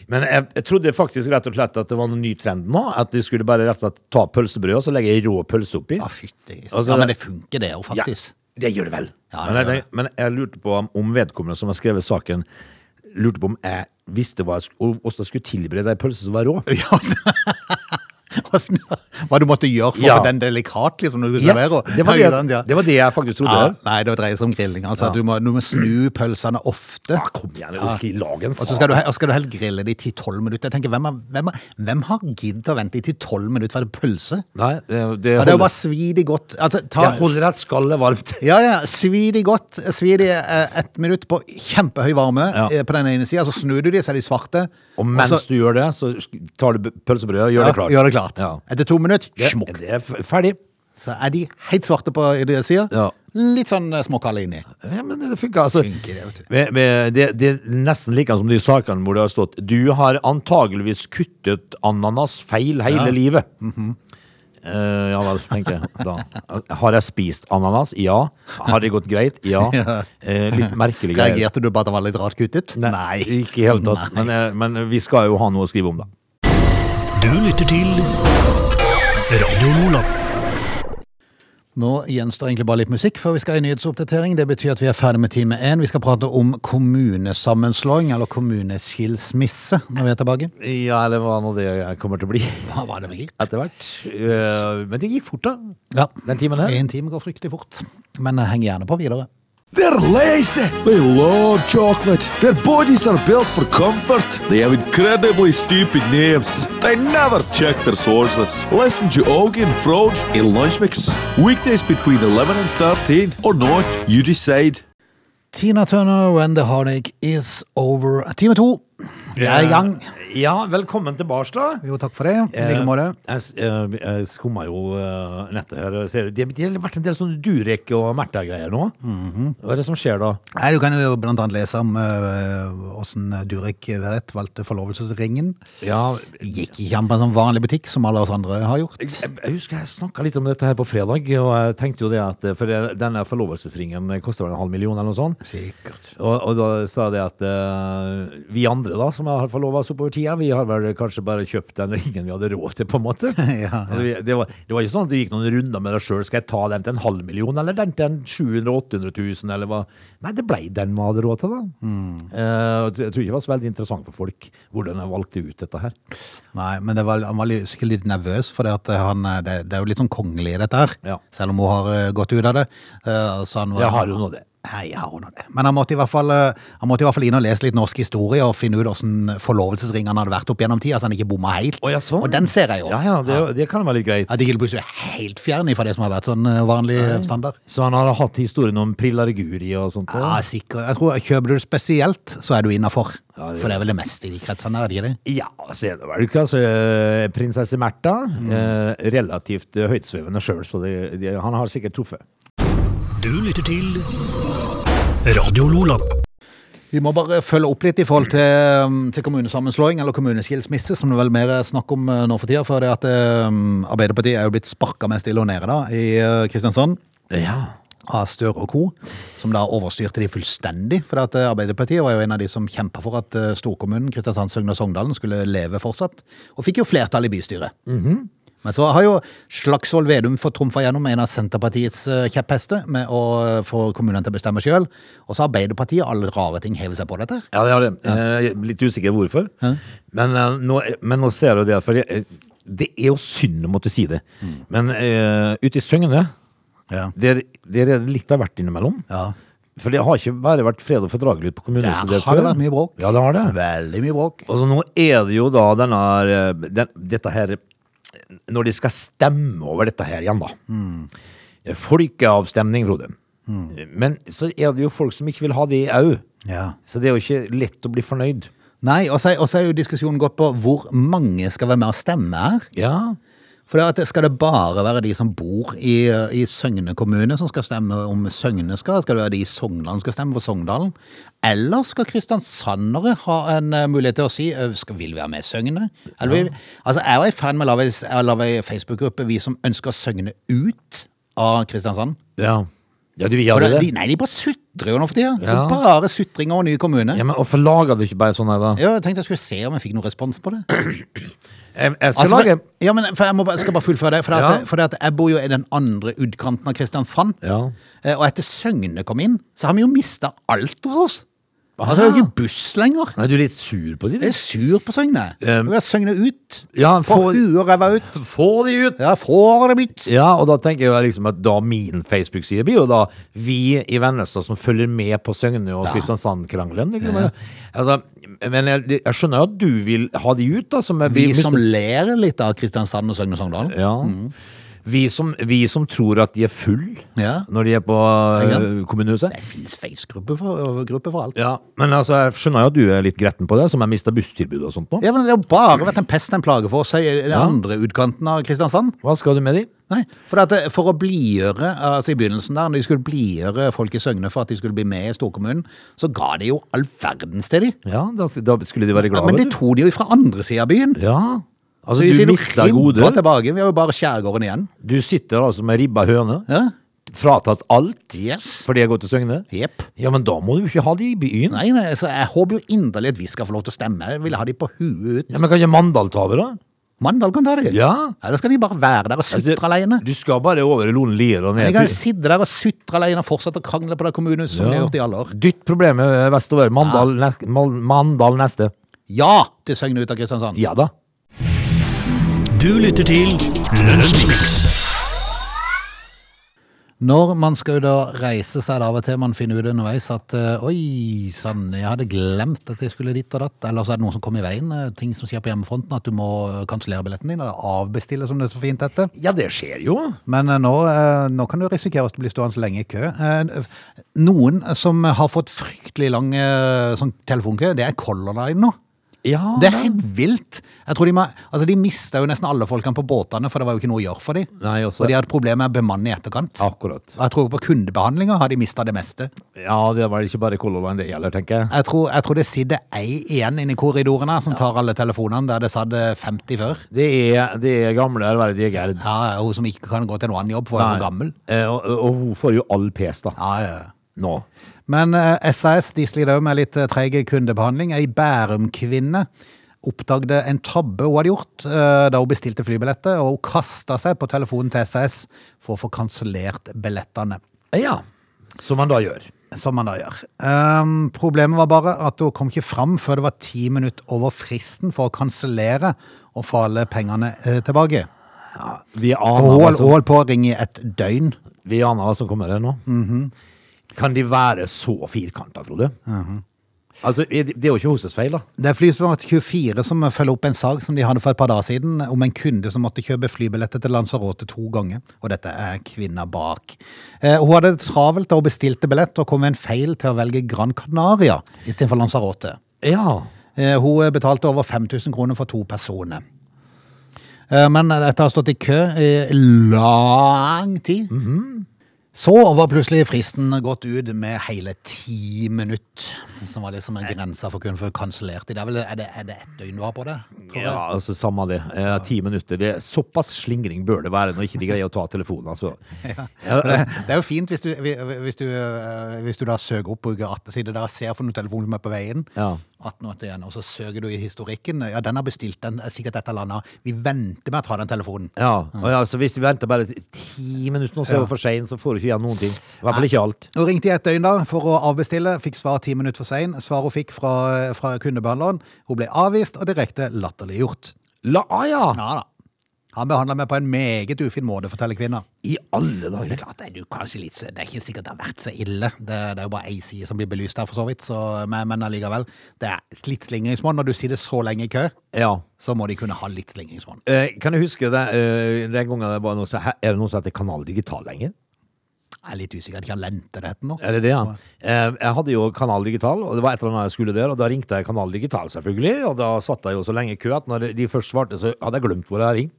Speaker 2: Men jeg, jeg trodde faktisk rett og slett at det var noen ny trend nå, at de skulle bare rett og slett ta pølsebrød, og så legge ei rå pølse oppi.
Speaker 1: Å, fytti.
Speaker 2: Altså,
Speaker 1: ja, men
Speaker 2: det-
Speaker 1: det funker det jo, faktisk.
Speaker 2: Ja, det gjør det vel.
Speaker 1: Ja,
Speaker 2: men,
Speaker 1: det
Speaker 2: jeg,
Speaker 1: gjør det.
Speaker 2: men jeg lurte på om, om vedkommende som har skrevet saken, lurte på om jeg visste hva jeg sk- om- hvordan jeg skulle tilberede ei pølse som var rå.
Speaker 1: Ja. Hvordan- Hva du måtte gjøre for å
Speaker 2: altså. Ja.
Speaker 1: få den delikat, liksom, når du
Speaker 2: Yes,
Speaker 1: skulle servere.
Speaker 2: det, var
Speaker 1: Ja,
Speaker 2: det,
Speaker 1: ikke sant? Ja.
Speaker 2: det var det jeg faktisk trodde.
Speaker 1: Ja, nei, det dreier seg om grilling. Altså, at du, må, du må snu pølsene ofte.
Speaker 2: Ah, kom igjen, jeg orker ikke lage en
Speaker 1: Og så
Speaker 2: sak.
Speaker 1: skal du, he- og skal du helt grille de 10-12 minutter. Jeg tenker, Hvem har, hvem har, hvem har giddet å vente i 10-12 minutter for en pølse?
Speaker 2: Nei, det, det,
Speaker 1: Ja, det er jo
Speaker 2: holder,
Speaker 1: bare svi de godt. Altså, ta,
Speaker 2: jeg holder et skalle varmt.
Speaker 1: ja, ja, svi de godt. Svi de eh, ett minutt på kjempehøy varme
Speaker 2: Ja.
Speaker 1: eh, på den ene sida, så snur du de, så er de svarte.
Speaker 2: Og mens
Speaker 1: så-
Speaker 2: du gjør det, så sk- tar du b- pølsebrødet og gjør
Speaker 1: ja,
Speaker 2: det klart.
Speaker 1: gjør det klart.
Speaker 2: Ja.
Speaker 1: Etter to minutter,
Speaker 2: Det,
Speaker 1: smukk.
Speaker 2: det er f- ferdig.
Speaker 1: Så er de helt svarte på den sida.
Speaker 2: Ja.
Speaker 1: Litt sånn eh, småkalde inni.
Speaker 2: Ja, men det funker, altså.
Speaker 1: Funker det, vet du.
Speaker 2: Med- med- det, det er nesten like som de sakene hvor det har stått Du har antageligvis kuttet ananas feil hele
Speaker 1: Ja.
Speaker 2: livet. Eh, ja vel, tenker jeg. Da. Har jeg spist ananas? Ja. Har det gått greit? Ja. Eh, litt merkelig greier.
Speaker 1: Reagerte du på at det var litt rart kuttet? Nei.
Speaker 2: Ikke i hele tatt. Men, eh, men vi skal jo ha noe å skrive om, da.
Speaker 3: Du lytter til Radio Lola.
Speaker 1: Nå gjenstår egentlig bare litt musikk før vi skal i nyhetsoppdatering. Det betyr at vi er ferdig med time én. Vi skal prate om kommunesammenslåing, eller kommuneskilsmisse, når vi er tilbake.
Speaker 2: Ja, eller hva nå det kommer til å bli
Speaker 1: Hva var det vi gikk?
Speaker 2: etter hvert. Eh, Men det gikk fort, da.
Speaker 1: Ja.
Speaker 2: Den timen her.
Speaker 1: En time går fryktelig fort. Men eh, heng gjerne på videre.
Speaker 4: They're lazy. They love chocolate. Their bodies are built for comfort. They have incredibly stupid names. They never check their sources. Listen to Augie and Frode in Lunch Mix. Weekdays between 11 and 13 or not, you decide.
Speaker 1: Tina Turner, When the Heartache Is Over. Time to. Vi er i gang.
Speaker 2: Eh, Ja, velkommen til bars, da.
Speaker 1: Jo, takk for det. I like måte.
Speaker 2: Jeg, s- eh, jeg skumma jo eh, nettet her. Ser du, det, det har vært en del sånne Durek og Märtha-greier nå.
Speaker 1: Mhm.
Speaker 2: Hva er det som skjer da?
Speaker 1: Nei, Du kan jo blant annet lese om eh, åssen Durek Verrett valgte forlovelsesringen.
Speaker 2: Ja,
Speaker 1: Gikk ikke an på en sånn vanlig butikk som alle oss andre har gjort.
Speaker 2: jeg, jeg husker jeg snakka litt om dette her på fredag, og jeg tenkte jo det at eh, For det- denne forlovelsesringen koster vel en halv million, eller noe sånt.
Speaker 1: Sikkert.
Speaker 2: Og, og da sa jeg det at eh, vi andre da, som har forlova oss oppover tida, vi har vel kanskje bare kjøpt den ringen vi hadde råd til, på en måte.
Speaker 1: Ja, ja.
Speaker 2: Altså, vi- det, var, det var ikke sånn at du gikk noen runder med deg sjøl. Skal jeg ta den til en halv million, eller den til en 700 000-800 000, eller hva? Nei, det blei den vi hadde råd til, da.
Speaker 1: Mm.
Speaker 2: Eh, og jeg tror ikke det var så veldig interessant for folk hvordan jeg valgte ut dette her.
Speaker 1: Nei, men det var, han var litt- sikkert litt nervøs, for det, at han, eh, det, det er jo litt sånn kongelig dette her.
Speaker 2: Ja.
Speaker 1: Selv om hun har eh, gått ut av det. Eh, Så han var,
Speaker 2: Jeg har jo nå det.
Speaker 1: Nei, jeg har hun det. Men han måtte, i hvert fall, eh, han måtte i hvert fall inn og lese litt norsk historie og finne ut åssen forlovelsesringen hadde vært opp gjennom tida, så han ikke bomma helt.
Speaker 2: Å, ja, sånn.
Speaker 1: Og den ser jeg jo.
Speaker 2: Ja, ja, det, det kan være litt greit.
Speaker 1: At det ikke plutselig er helt fjern fra det som har vært sånn eh, vanlig eh, standard.
Speaker 2: Så han har hatt historien om Prilarguri og sånt?
Speaker 1: Ja,
Speaker 2: også?
Speaker 1: sikkert. Jeg tror Kjøper du det spesielt, så er du innafor.
Speaker 2: Ja, det er-
Speaker 1: For det er vel det meste i de kretsene, er det ikke det?
Speaker 2: Ja, så er det vel ikke altså, eh, prinsesse Märtha.
Speaker 1: Mm.
Speaker 2: Eh, relativt eh, høytsvevende sjøl, så det, det, han har sikkert truffet.
Speaker 3: Du lytter til Radio Lola.
Speaker 1: Vi må bare følge opp litt i forhold til, um, til kommunesammenslåing eller kommuneskilsmisse, som det vel mer er snakk om uh, nå for tida. For det at um, Arbeiderpartiet er jo blitt sparka mest ille og nede da, i uh, Kristiansand.
Speaker 2: Ja.
Speaker 1: Av Støre og co., som da overstyrte de fullstendig. For at uh, Arbeiderpartiet var jo en av de som kjempa for at uh, storkommunen Kristiansand, Søgne og Sogndalen skulle leve fortsatt. Og fikk jo flertall i bystyret. Men så har jo Slagsvold Vedum fått trumfa gjennom en av Senterpartiets uh, kjepphester med å uh, få kommunene til å bestemme sjøl. Og så har Arbeiderpartiet og alle rare ting hevet seg på dette. her.
Speaker 2: Ja, det har det. Jeg er litt usikker hvorfor. Men, eh, nå, men nå ser jeg jo det, for det, det er jo synd å måtte si det.
Speaker 1: Mm.
Speaker 2: Men eh, ute i Søgne,
Speaker 1: Ja.
Speaker 2: der, der er det litt av hvert innimellom.
Speaker 1: Ja.
Speaker 2: For det har ikke bare vært fred og fordragelig på kommunehuset.
Speaker 1: Der
Speaker 2: der
Speaker 1: har det
Speaker 2: før.
Speaker 1: vært mye bråk.
Speaker 2: Ja, det har det.
Speaker 1: Veldig mye bråk.
Speaker 2: Og så nå er det jo da denne, her, eh, den, dette her Når de skal stemme over dette her igjen, da.
Speaker 1: Mm.
Speaker 2: Det er Folkeavstemning, Frode. Men så er det jo folk som ikke vil ha det òg.
Speaker 1: Ja.
Speaker 2: Så det er jo ikke lett å bli fornøyd.
Speaker 1: Nei, og så, er- og så er jo diskusjonen gått på hvor mange skal være med og stemme her.
Speaker 2: Ja,
Speaker 1: For det er at det- skal det bare være de som bor i, i Søgne kommune som skal stemme om Søgne skal? Skal det være de i Sogndalen som skal stemme for Sogndalen? Eller skal kristiansandere ha en eh, mulighet til å si eh, skal, vil vi være med i Søgne? Eller vil, altså, jeg er jo i fan med å lage- å lage ei Facebook-gruppe vi som ønsker Søgne ut av Kristiansand.
Speaker 2: Ja, ja du vil
Speaker 1: For
Speaker 2: gjøre
Speaker 1: det,
Speaker 2: det?
Speaker 1: de, nei, de bare sutrer jo nå for tida.
Speaker 2: Ja.
Speaker 1: Bare sutring og ny kommune.
Speaker 2: Ja, men Hvorfor lager du ikke bare sånn her, da?
Speaker 1: Ja, jeg tenkte jeg skulle se om jeg fikk noen respons på det.
Speaker 2: Jeg, jeg skal
Speaker 1: Altså,
Speaker 2: lage
Speaker 1: for, ja, men for Jeg må bare, skal bare fullføre det. For, det
Speaker 2: Ja.
Speaker 1: at, for det at jeg bor jo i den andre utkanten av Kristiansand.
Speaker 2: Ja.
Speaker 1: Eh, Og etter Søgne kom inn, så har vi jo mista alt hos oss.
Speaker 2: Ah.
Speaker 1: Altså, Det er jo ikke buss lenger.
Speaker 2: Nei, du er litt sur på de?
Speaker 1: Jeg er sur på Søgne. Jeg vil ha Søgne ut.
Speaker 2: Ja,
Speaker 1: Få
Speaker 2: få-
Speaker 1: huet og ræva ut.
Speaker 2: Få de ut!
Speaker 1: Ja, får det mitt.
Speaker 2: Ja, og da tenker jeg liksom at da min Facebook-side blir jo da vi i Vennesla som følger med på Søgne og Kristiansand-krangelen. ikke sant? Altså, men jeg, jeg skjønner jo at du vil ha de ut, da. Som er,
Speaker 1: Vi
Speaker 2: hvis-
Speaker 1: som Mm. ler litt av Kristiansand og Søgne og Sogndalen.
Speaker 2: ja. vi, som, vi som tror at de er full
Speaker 1: Ja.
Speaker 2: når de er på
Speaker 1: Ikke
Speaker 2: eh,
Speaker 1: sant?
Speaker 2: kommunehuset.
Speaker 1: Det fins face-gruppe for, gruppe for alt.
Speaker 2: Ja, men altså, jeg skjønner jo at du er litt gretten på det, som har mista busstilbudet og sånt nå.
Speaker 1: Ja, men Det har bare vært en pest og en plage for oss i den andre utkanten av Kristiansand.
Speaker 2: Hva skal du med de?
Speaker 1: Nei, for, at, det- for å blidgjøre altså I begynnelsen der, når de skulle blidgjøre folk i Søgne for at de skulle bli med i storkommunen, så ga de jo all verdens til de.
Speaker 2: Ja, da, da skulle de være
Speaker 1: Ja,
Speaker 2: glade.
Speaker 1: men det
Speaker 2: vet du.
Speaker 1: tok de jo fra andre sida av byen.
Speaker 2: Ja. Altså,
Speaker 1: Så vi
Speaker 2: du
Speaker 1: sier nå
Speaker 2: mista
Speaker 1: kribber
Speaker 2: goder.
Speaker 1: tilbake. Vi har jo bare skjærgården igjen.
Speaker 2: Du sitter altså med ribba høne.
Speaker 1: Ja,
Speaker 2: Fratatt alt
Speaker 1: yes.
Speaker 2: fordi jeg går til Søgne.
Speaker 1: Jepp.
Speaker 2: Ja, men da må du ikke ha de i byen.
Speaker 1: Nei, nei, så jeg håper jo inderlig at vi skal få lov til å stemme. Jeg vil ha de på huet ut.
Speaker 2: Ja, Men kan ikke Mandal ta over, da?
Speaker 1: Mandal kan ta dem.
Speaker 2: Ja. Altså,
Speaker 1: Eller skal de bare være der og sutre alene?
Speaker 2: Du skal bare over i Loen Lier og
Speaker 1: De
Speaker 2: ned
Speaker 1: kan jo
Speaker 2: til
Speaker 1: sitte der og sutre alene og fortsette å krangle på det kommunehuset som de har
Speaker 2: Ja.
Speaker 1: gjort i alle år.
Speaker 2: Dytt problemet eh, vestover. Mandal, ne Mal- Mandal neste.
Speaker 1: Ja til Søgne ut av Kristiansand.
Speaker 2: Ja da.
Speaker 3: Du lytter til Lunsjmix.
Speaker 1: Når man skal jo da reise, så er det av og til man finner ut underveis at eh, oi sann, jeg hadde glemt at jeg skulle dit og datt. Eller så er det noe som kommer i veien. eh, ting som skjer på hjemmefronten, at du må eh, kansellere billetten din. Eller avbestille, som det er så fint heter.
Speaker 2: Ja, det skjer jo.
Speaker 1: Men eh, nå, eh, nå kan du risikere at du blir stående så lenge i kø. Eh, Noen som har fått fryktelig lang eh, sånn telefonkø, det er Color Line nå.
Speaker 2: Ja,
Speaker 1: Det er helt vilt. Jeg tror De, må- altså de mista jo nesten alle folkene på båtene, for det var jo ikke noe å gjøre for dem.
Speaker 2: Nei, også-
Speaker 1: Og de hadde problemer med å bemanne i etterkant.
Speaker 2: Akkurat.
Speaker 1: Jeg tror på kundebehandlinga har de mista det meste.
Speaker 2: Ja, det var ikke bare Color Line det gjelder, tenker jeg.
Speaker 1: Jeg tror, jeg tror det sitter ei igjen inne i korridorene som tar alle telefonene, der det satt eh, 50 før.
Speaker 2: Det er, det er gamle ærverdige Gerd.
Speaker 1: Ja, Hun som ikke kan gå til noen annen jobb, for hun er jo
Speaker 2: Nei.
Speaker 1: gammel.
Speaker 2: Eh, og, og hun får jo all pes, da.
Speaker 1: Ja, ja, ja.
Speaker 2: Nå.
Speaker 1: Men eh, SAS de sliter også med litt eh, treig kundebehandling. Ei Bærum-kvinne oppdagde en tabbe hun hadde gjort eh, da hun bestilte flybilletter, og hun kasta seg på telefonen til SAS for å få kansellert billettene.
Speaker 2: Ja. Som man da gjør.
Speaker 1: Som man da gjør. Ehm, problemet var bare at hun kom ikke fram før det var ti minutter over fristen for å kansellere og få alle pengene eh, tilbake.
Speaker 2: Vi
Speaker 1: Og hun
Speaker 2: aner, hva
Speaker 1: holdt- hun
Speaker 2: som,
Speaker 1: holdt på å ringe i et døgn.
Speaker 2: vi aner hva som kommer her nå. Kan de være så firkanta, Frode? Altså, er det det er jo ikke hennes feil, da.
Speaker 1: Det er Flyselskapet 24 som følger opp en sak som de hadde for et par dager siden, om en kunde som måtte kjøpe flybilletter til Lanzarote to ganger. Og dette er kvinna bak. Eh, hun hadde det travelt da hun bestilte billett, og kom ved en feil til å velge Gran Canaria istedenfor Lanzarote.
Speaker 2: Ja.
Speaker 1: Eh, hun betalte over 5000 kroner for to personer. Eh, men dette har stått i kø i lang tid. Så var plutselig fristen gått ut med hele ti minutter, som var liksom en grense for å kunne få kansellert de. Det er, vel, er, det, er det ett døgn du har på det? Tror jeg?
Speaker 2: Ja, altså samme det. Eh, ti minutter. Det, er såpass slingring bør det være når ikke de greier å ta telefonen, altså. Ja,
Speaker 1: Det, det er jo fint hvis du, hvis du, eh, hvis du da søker opp bruker 18 sider der og ser for noen telefon som er på veien,
Speaker 2: Ja.
Speaker 1: 1881, og så søker du i historikken. Ja, den har bestilt den, er sikkert dette landet. Vi venter med å ta den telefonen.
Speaker 2: ja, og ja, så hvis vi venter bare ti minutter nå, så er det for seint, så får du ikke igjen noen ting. I hvert fall ikke alt.
Speaker 1: Hun ringte i et døgn da for å avbestille, fikk svar ti minutter for sein. Svar hun fikk fra, fra kundebehandleren. Hun ble avvist og direkte latterliggjort.
Speaker 2: La, ah, ja.
Speaker 1: Ja da. Han behandla meg på en meget ufin måte, forteller kvinna.
Speaker 2: I alle
Speaker 1: Det er
Speaker 2: dager.
Speaker 1: klart det er jo kanskje litt, så- det er ikke sikkert det har vært så ille. Det, det er jo bare ei side som blir belyst her, for så vidt. Så, men, men allikevel. Det er litt slingringsmonn. Når du sitter så lenge i kø,
Speaker 2: Ja.
Speaker 1: så må de kunne ha litt slingringsmonn.
Speaker 2: Eh, Kan jeg huske det, eh, den gangen det var noe som Er det noe som heter Kanal Digital lenger?
Speaker 1: Jeg er litt usikker. De har lente det heter nå.
Speaker 2: Er det det, ja? Eh, Jeg hadde jo Kanal Digital, og det var et eller annet jeg skulle der, og da ringte jeg Kanal Digital, selvfølgelig, og da satt jeg jo så lenge i kø at når de først svarte, så hadde jeg glemt hvor jeg hadde ringt.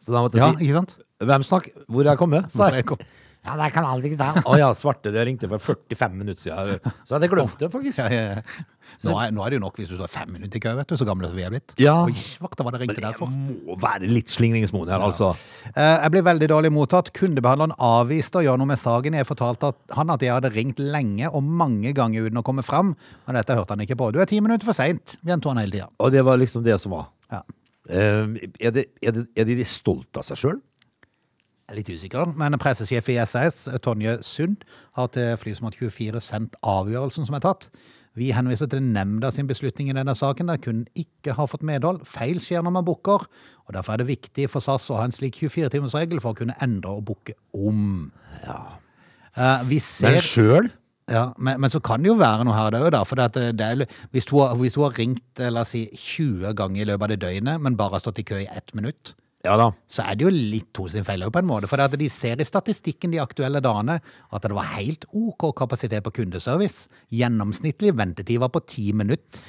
Speaker 2: Så da måtte jeg
Speaker 1: Hmm. Ja,
Speaker 2: si
Speaker 1: ikke sant?
Speaker 2: Hvem snakk? Hvor er jeg kommet? sa
Speaker 1: Hvor er
Speaker 2: jeg.
Speaker 1: jeg kommet?
Speaker 2: Ja, det kan aldri være. Å ja, svarte, det ringte for 45 minutter siden. Så hadde jeg glemt det, faktisk.
Speaker 1: Ja, ja, ja. Nå, er, nå er det jo nok hvis du står fem minutter i kø, vet du, så gamle som vi er blitt.
Speaker 2: Ja.
Speaker 1: Oi, svarte, hva det ringte der
Speaker 2: Jeg
Speaker 1: for?
Speaker 2: må være litt slingringsmoen her, altså.
Speaker 1: Eh, Jeg ble veldig dårlig mottatt. Kundebehandleren avviste å gjøre noe med saken. Jeg fortalte at han at jeg hadde ringt lenge og mange ganger uten å komme fram. Men dette hørte han ikke på. Du er ti minutter for seint, gjentok han hele tida.
Speaker 2: Og det var liksom det som var.
Speaker 1: Ja.
Speaker 2: Eh, Er, det, er, det, er de stolte av seg sjøl?
Speaker 1: Jeg er litt usikker, men pressesjef i SAS, Tonje Sund, har til Flysmart 24 sendt avgjørelsen som er tatt. Vi henviser til nemnda sin beslutning i denne saken, der kunden ikke har fått medhold. Feil skjer når man booker, og derfor er det viktig for SAS å ha en slik 24-timersregel for å kunne endre og booke om. Eh, vi ser...
Speaker 2: Men sjøl?
Speaker 1: Ja, men, men så kan det jo være noe her det òg, da. For det at eh, det er, hvis, hun, har- hvis hun har ringt eh, la oss si, 20 ganger i løpet av det døgnet, men bare har stått i kø i ett minutt,
Speaker 2: Ja da.
Speaker 1: så er det jo litt to sin feil også på en måte. For det at de ser i statistikken de aktuelle dagene at det var helt OK kapasitet på kundeservice. Gjennomsnittlig ventetid var på ti minutter.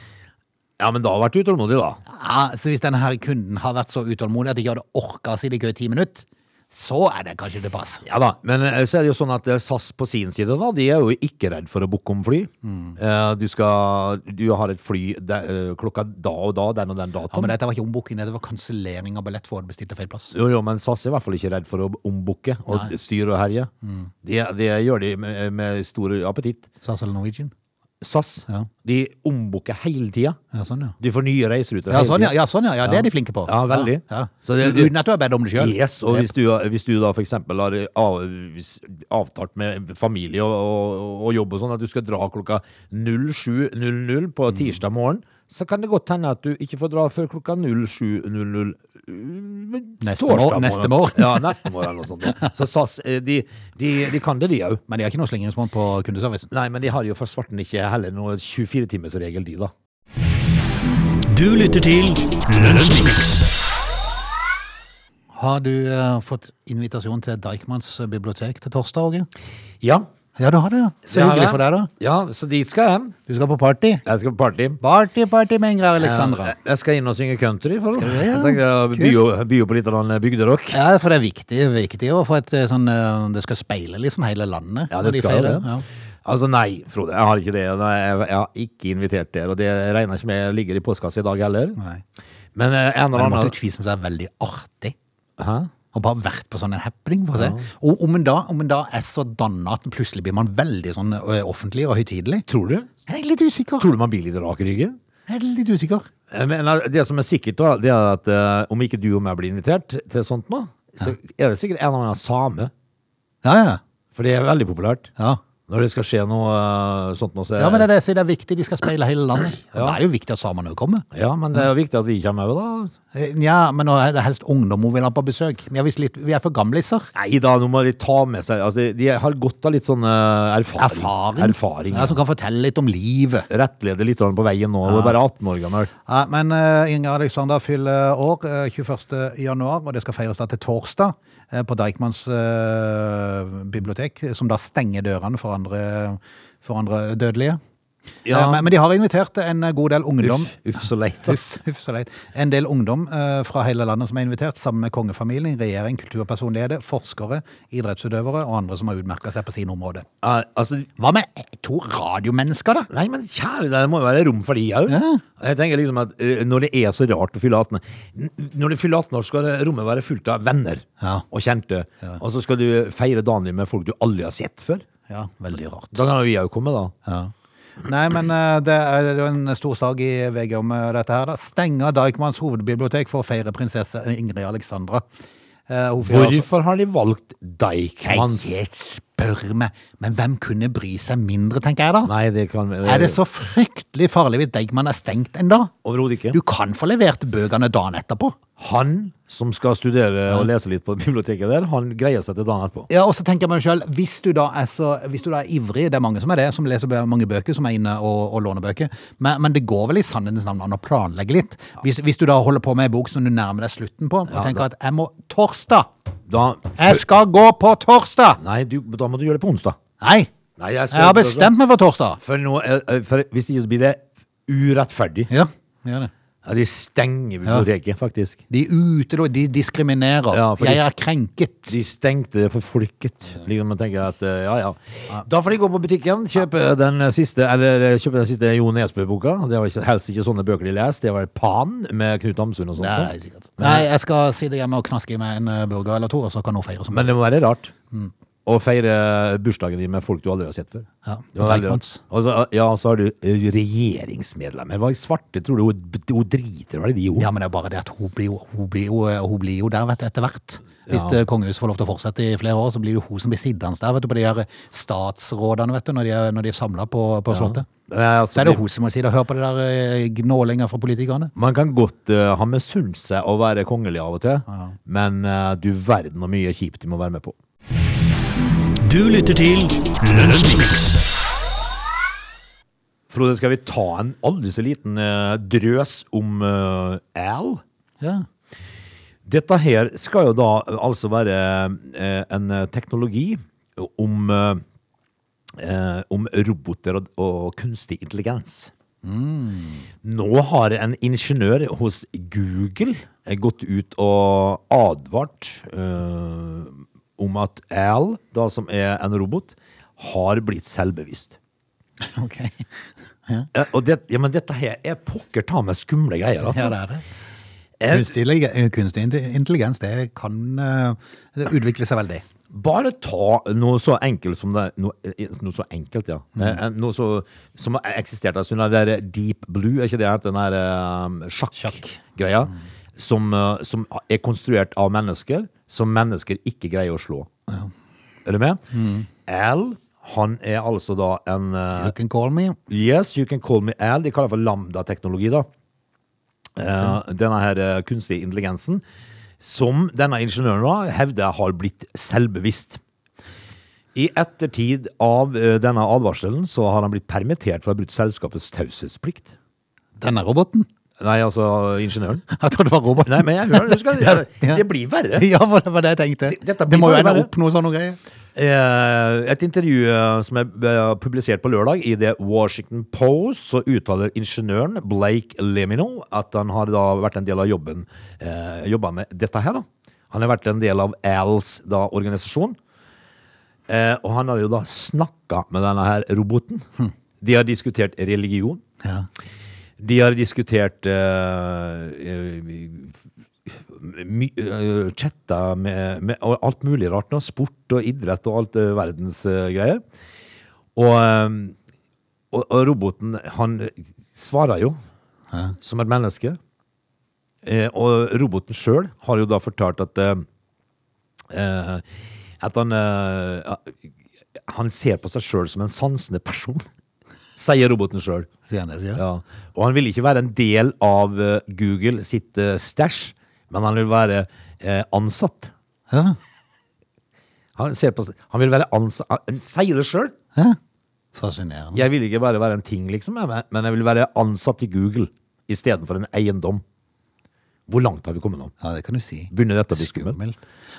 Speaker 2: Ja, men da har jeg vært utålmodig, da.
Speaker 1: Ja, så hvis denne her kunden har vært så utålmodig at de ikke hadde orka å sitte i kø i ti minutter, så er det kanskje det pass.
Speaker 2: Ja da, Men eh, så er det jo sånn at eh, SAS på sin side, da, de er jo ikke redd for å booke om fly.
Speaker 1: Mm.
Speaker 2: Eh, Du skal Du har et fly de, eh, klokka da og da, den og den
Speaker 1: Ja,
Speaker 2: datoen.
Speaker 1: men dette var ikke ombooking, det var kansellering av billett for å bestille feil plass.
Speaker 2: Jo, jo, men SAS er i hvert fall ikke redd for å ombooke og
Speaker 1: Mm.
Speaker 2: styre og herje. Det, det gjør de med, med stor appetitt.
Speaker 1: SAS eller altså Norwegian?
Speaker 2: SAS,
Speaker 1: Ja.
Speaker 2: de ombooker hele tida.
Speaker 1: Ja, sånn, ja.
Speaker 2: Du får nye reiseruter.
Speaker 1: Ja,
Speaker 2: hele
Speaker 1: sånn, ja.
Speaker 2: tiden.
Speaker 1: ja, sånn, ja. ja det er de flinke på.
Speaker 2: Ja, veldig.
Speaker 1: Ja, ja.
Speaker 2: Så det-
Speaker 1: Uten at du har bedt om det sjøl.
Speaker 2: Yes, og hvis du, hvis du da for eksempel har av- avtalt med familie og, og, og jobb og sånn at du skal dra klokka 07.00 på
Speaker 1: Mm.
Speaker 2: tirsdag morgen, så kan det godt hende at du ikke får dra før klokka 07.00
Speaker 1: Neste
Speaker 2: mm, torsdag
Speaker 1: mor-
Speaker 2: morgen.
Speaker 1: neste morgen.
Speaker 2: Ja, neste morgen eller noe sånt. ja. Så SAS, eh, de, de, de kan det de òg.
Speaker 1: Men de har ikke noe slingringsmonn på kundeservicen.
Speaker 2: Nei, men de har jo for svarten ikke heller noe 24-timersregel, de da.
Speaker 3: Du lytter til Lunsjmix.
Speaker 1: Har du eh, fått invitasjon til Deichmans eh, bibliotek til torsdag, Åge?
Speaker 2: Ja,
Speaker 1: Ja, du har det. ja. Så
Speaker 2: Det har
Speaker 1: hyggelig
Speaker 2: jeg.
Speaker 1: for deg, da.
Speaker 2: ja så dit skal jeg.
Speaker 1: Du skal på party.
Speaker 2: Jeg skal på party.
Speaker 1: Party, party med Ingrid Alexandra.
Speaker 2: Jeg, jeg skal inn og synge country. For
Speaker 1: Skal du det, ja?
Speaker 2: Jeg tenker å by, by på litt av den eh, bygderock.
Speaker 1: Ja, for det er viktig, viktig å få et eh, sånn eh, Det skal speile liksom hele landet.
Speaker 2: Ja,
Speaker 1: når
Speaker 2: det
Speaker 1: de
Speaker 2: skal det.
Speaker 1: feirer. Ja.
Speaker 2: Altså nei, Frode. Jeg har ikke det. Nei, Jeg jeg har ikke invitert der. Og det regner jeg ikke med ligger i postkassa i dag heller.
Speaker 1: Nei.
Speaker 2: Men eh,
Speaker 1: Men
Speaker 2: en eller
Speaker 1: det måtte
Speaker 2: annen
Speaker 1: jo vise seg veldig artig.
Speaker 2: Hæ?
Speaker 1: Og bare vært på sånn en happening. For å se. Og om en, da, om en da er så danna at plutselig blir man veldig sånn ø, offentlig og høytidelig.
Speaker 2: Tror du?
Speaker 1: Jeg er litt usikker.
Speaker 2: Tror du man blir litt rak i ryggen?
Speaker 1: Jeg er litt usikker.
Speaker 2: Eh, Men eh, det som er sikkert, da, det er at eh, om ikke du og meg blir invitert til sånt nå, så er det sikkert en eller annen same.
Speaker 1: Ja, ja.
Speaker 2: For det er veldig populært.
Speaker 1: Ja,
Speaker 2: Når det skal skje noe eh, sånt nå, så
Speaker 1: ja men det er det jeg sier, det er viktig. De skal speile hele landet. Og
Speaker 2: Ja.
Speaker 1: Da er det jo viktig at samene kommer.
Speaker 2: Ja, men det er jo viktig at vi kommer òg, da.
Speaker 1: Eh, Ja, men nå er det helst ungdom hun vil ha på besøk. Vi er, visst litt, vi er for gamliser.
Speaker 2: Nei da, nå må de ta med seg altså, De har godt av litt sånn eh, erfaring.
Speaker 1: Erfaring.
Speaker 2: Erfaring,
Speaker 1: Ja, som kan fortelle litt om livet.
Speaker 2: Rettlede litt på veien nå. Du er bare 18 år gammel.
Speaker 1: Ja, men uh, Inger Alexander fyller år eh, 21. januar, og det skal feires da til torsdag eh, på Deichmans eh, bibliotek, som da stenger dørene for andre, for andre dødelige.
Speaker 2: Ja.
Speaker 1: Eh, men, men de har invitert en eh, god del ungdom.
Speaker 2: Uff, uff så leit. da.
Speaker 1: Uff, uff, så leit. En del ungdom eh, fra hele landet som er invitert, sammen med kongefamilien, regjering, kulturpersonligheter, forskere, idrettsutøvere og andre som har utmerka seg på sine områder.
Speaker 2: Ja, altså,
Speaker 1: Hva med to radiomennesker, da?
Speaker 2: nei, men kjære deg, det må jo være rom for de òg.
Speaker 1: Ja.
Speaker 2: Jeg tenker liksom at eh, når det er så rart å fylle 18 n- Når du fyller 18 år, skal det rommet være fullt av venner
Speaker 1: Ja.
Speaker 2: og kjente. Og så skal du feire dagen din med folk du aldri har sett før.
Speaker 1: Ja, veldig rart.
Speaker 2: Da kan jo vi òg komme, da.
Speaker 1: Nei, men eh, det er jo en stor sak i VG om eh, dette her. da. Stenger Deichmans hovedbibliotek for å feire prinsesse Ingrid Alexandra. Eh, hun fyller altså-
Speaker 2: Hvorfor har de valgt Deichmans?
Speaker 1: Nei, Ikke spør meg, men hvem kunne bry seg mindre, tenker jeg da?
Speaker 2: Nei, det kan
Speaker 1: Er det så fryktelig farlig hvis Deichman er stengt ennå?
Speaker 2: Overhodet ikke.
Speaker 1: Du kan få levert bøkene dagen etterpå.
Speaker 2: Han som skal studere og lese litt på biblioteket der, han greier seg til dagen etterpå.
Speaker 1: Ja, og så tenker jeg meg selv, hvis du da er, så, hvis du da er ivrig, det er mange som er det, som leser bø- mange bøker, som er inne og, og låner bøker, men, men det går vel i sannhetens navn an å planlegge litt. Hvis, hvis du da holder på med en bok som du nærmer deg slutten på, og
Speaker 2: Ja,
Speaker 1: tenker at jeg må torsdag,
Speaker 2: Da,
Speaker 1: jeg skal gå på torsdag!
Speaker 2: nei, du, da må du gjøre det på onsdag.
Speaker 1: Nei,
Speaker 2: Nei, jeg,
Speaker 1: jeg har bestemt meg for torsdag.
Speaker 2: For, nå, eh, eh, for hvis ikke så blir det urettferdig.
Speaker 1: Ja, gjør det.
Speaker 2: Ja, de stenger biblioteket, faktisk.
Speaker 1: De utelå, de diskriminerer.
Speaker 2: Ja, for de-
Speaker 1: jeg er krenket.
Speaker 2: De stengte det for folket. Liksom man tenker at eh, ja, ja. Da får de gå på butikken, kjøpe den siste eller eh, kjøpe den siste Jo Nesbø-boka. Det var ikke, helst ikke sånne bøker de leste. Det var Pan med Knut Hamsun og sånt.
Speaker 1: Nei, sikkert. Nei, jeg skal si det hjemme og knaske i meg en eh, burger eller to, og så kan hun feire som
Speaker 2: Men det må være rart å feire bursdagen din med folk du aldri har sett før.
Speaker 1: Mm. Ja,
Speaker 2: det var veldig rart.
Speaker 1: Deichmans.
Speaker 2: Og så, ja, så har du eh, regjeringsmedlemmer. Hva i svarte tror du hun, hun driter hva er det de gjorde?
Speaker 1: Ja, men det er bare det at hun blir jo, hun blir jo, eh, hun blir jo der, vet du, etter hvert. Hvis eh, kongehuset får lov til å fortsette i flere år, så blir det jo hun som blir sittende der, vet du, på de her eh, statsrådene, vet du, når de er, når de er samlet på, på slottet.
Speaker 2: Eh, altså,
Speaker 1: Så er det hun som må si det, hør på det der eh, gnålinger fra politikerne.
Speaker 2: Man kan godt eh, ha misunt seg å være kongelig av og til, men eh, du verden hvor mye kjipt de må være med på.
Speaker 3: Du lytter til Lunsjmix.
Speaker 2: Frode, skal vi ta en aldri så liten eh, drøs om uh, Al?
Speaker 1: Ja.
Speaker 2: Dette her skal jo da eh, altså være eh, en eh, teknologi om, eh, eh, om roboter og, og kunstig intelligens.
Speaker 1: Mm.
Speaker 2: Nå har en ingeniør hos Google eh, gått ut og advart eh, om at Al, da som er en robot, har blitt selvbevisst.
Speaker 1: Ok.
Speaker 2: Eh, og det, ja, men dette her er pokker ta meg skumle greier, altså.
Speaker 1: Ja, det er det.
Speaker 2: Eh,
Speaker 1: Kunstig, kunstig intelligens, det kan eh, det utvikle eh, seg veldig.
Speaker 2: Bare ta noe så enkelt som det Noe, eh, noe så enkelt, ja. Eh, eh, Noe så, som har eksistert en stund. Det der Deep Blue, er ikke det het? Den der eh, sjakk-greia. Som, eh, som er konstruert av mennesker som mennesker ikke greier å slå. Er du med? Al, han er altså da en eh,
Speaker 1: You can call me.
Speaker 2: Yes, you can call me Al. De kaller det for lambda-teknologi, da. Eh, denne her eh, kunstige intelligensen, som denne ingeniøren da, hevder har blitt selvbevisst. I ettertid av eh, denne advarselen så har han blitt permittert for å ha brutt selskapets taushetsplikt.
Speaker 1: Denne roboten.
Speaker 2: Nei, altså ingeniøren.
Speaker 1: Jeg trodde det var roboten.
Speaker 2: Nei, men jeg hører, husker,
Speaker 1: Ja.
Speaker 2: det, det blir verre.
Speaker 1: Ja, for det var det jeg tenkte.
Speaker 2: Dette blir
Speaker 1: det må jo
Speaker 2: bare
Speaker 1: ende
Speaker 2: verre.
Speaker 1: opp noe sånn noe greier.
Speaker 2: Eh, Et intervju eh, som er eh, publisert på lørdag i The Washington Post, så uttaler ingeniøren Blake Lemino at han har da vært en del av jobben eh, jobba med dette her. da. Han har vært en del av ALS da, organisasjon. Eh, og han har jo da snakka med denne her roboten. De har diskutert religion.
Speaker 1: Ja.
Speaker 2: De har diskutert eh, eh, my- eh, chatta med, med og alt mulig rart nå. Sport og idrett og alt eh, verdens eh, greier. Og, eh, og, og roboten, han svarer jo som et menneske. Eh, og roboten sjøl har jo da fortalt at eh, eh, At han eh, Han ser på seg sjøl som en sansende person, sier roboten sjøl.
Speaker 1: Sier han det, sier han.
Speaker 2: Ja. Og han vil ikke være en del av eh, Google sitt uh, stash, men han vil være eh, ansatt.
Speaker 1: Ja.
Speaker 2: Han, ser på, han vil være ansatt Han sier det sjøl!
Speaker 1: Fascinerende.
Speaker 2: Jeg vil ikke bare være en ting, liksom, jeg, men- men jeg vil være ansatt i Google istedenfor en eiendom. Hvor langt har vi kommet nå?
Speaker 1: Ja, det kan du si.
Speaker 2: Begynner dette å bli skummelt?
Speaker 1: Skummelt.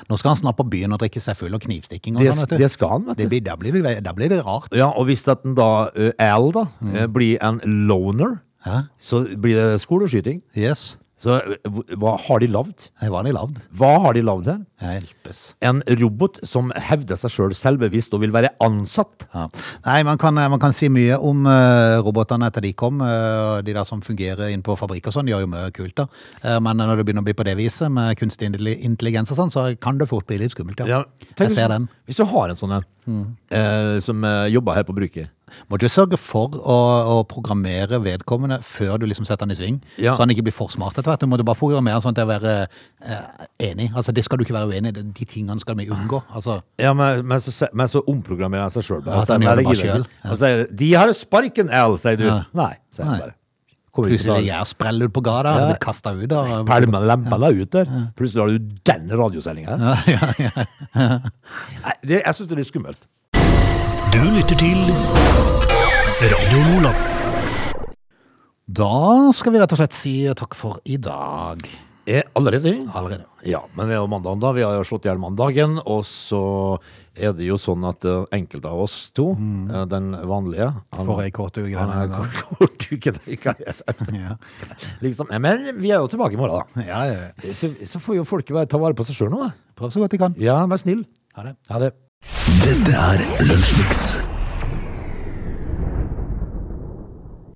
Speaker 1: Nå skal han snart på byen og drikke seg full og knivstikking og
Speaker 2: Det,
Speaker 1: sånn, vet du.
Speaker 2: det skal han, vet
Speaker 1: Det
Speaker 2: du.
Speaker 1: blir, da, blir det, da blir det rart.
Speaker 2: Ja, og hvis at den da, eh, Al, da, eh, blir en loner,
Speaker 1: Hæ?
Speaker 2: så blir det skoleskyting.
Speaker 1: Yes.
Speaker 2: Så eh, hva har de lagd?
Speaker 1: Det var de lagd.
Speaker 2: Hva har de lagd her?
Speaker 1: Hjelpes.
Speaker 2: En robot som hevder seg sjøl selvbevisst og vil være ansatt.
Speaker 1: Ja. Nei, man kan, eh, man kan si mye om eh, robotene etter de kom. eh, de der som fungerer inne på fabrikk og sånn, gjør jo mye kult. da. Eh, men når det begynner å bli på det viset, med kunstig intelli- intelligens og sånn, så kan det fort bli litt skummelt, ja.
Speaker 2: tenk
Speaker 1: Jeg
Speaker 2: hvis-
Speaker 1: ser den. Mm.
Speaker 2: Hvis du har en sånn en, eh, som eh, jobber her på bruket.
Speaker 1: Må du sørge for å, å programmere vedkommende før du liksom setter han i sving,
Speaker 2: Ja.
Speaker 1: så han ikke blir for smart etter hvert. Du må du bare programmere han sånn til å være eh, enig. Altså, det skal du ikke være uenig i. Det- De tingene skal vi unngå. Altså,
Speaker 2: Ja, men, men, så, se- men så omprogrammerer han seg Sånn sjøl.
Speaker 1: Ja, så han gjør det bare selv, ja.
Speaker 2: Og sier 'De har sparken, Al', sier du.
Speaker 1: Ja.
Speaker 2: Nei,
Speaker 1: Nei.
Speaker 2: sier han bare. Kommer ikke
Speaker 1: plutselig
Speaker 2: til å-
Speaker 1: er gjærsprell ute på gata,
Speaker 2: Ja.
Speaker 1: ja. blir kasta ut. Og,
Speaker 2: Pælmen lempene ut der. Plutselig har du den radiosendinga. Nei, det- Jeg syns det er litt skummelt.
Speaker 3: Du lytter til Radio Nordland.
Speaker 1: da skal vi rett og slett si takk for i dag.
Speaker 2: Eh, Allerede?
Speaker 1: Allerede.
Speaker 2: Ja, men det er jo mandagen da. Vi har jo slått i hjel mandagen. Og så er det jo sånn at eh, enkelte av oss to, eh, den vanlige han,
Speaker 1: For ei kort uke
Speaker 2: han
Speaker 1: denne
Speaker 2: er
Speaker 1: gangen.
Speaker 2: kort uke der, ikke jeg.
Speaker 1: Ja.
Speaker 2: liksom. eh, Men vi er jo tilbake i morgen, da.
Speaker 1: Ja, ja.
Speaker 2: Så, så får jo folk bare ta vare på seg sjøl nå. da.
Speaker 1: Prøv så godt de kan.
Speaker 2: Ja, vær snill.
Speaker 1: Ha det.
Speaker 2: Ha det.
Speaker 3: Dette er Lunsjmix.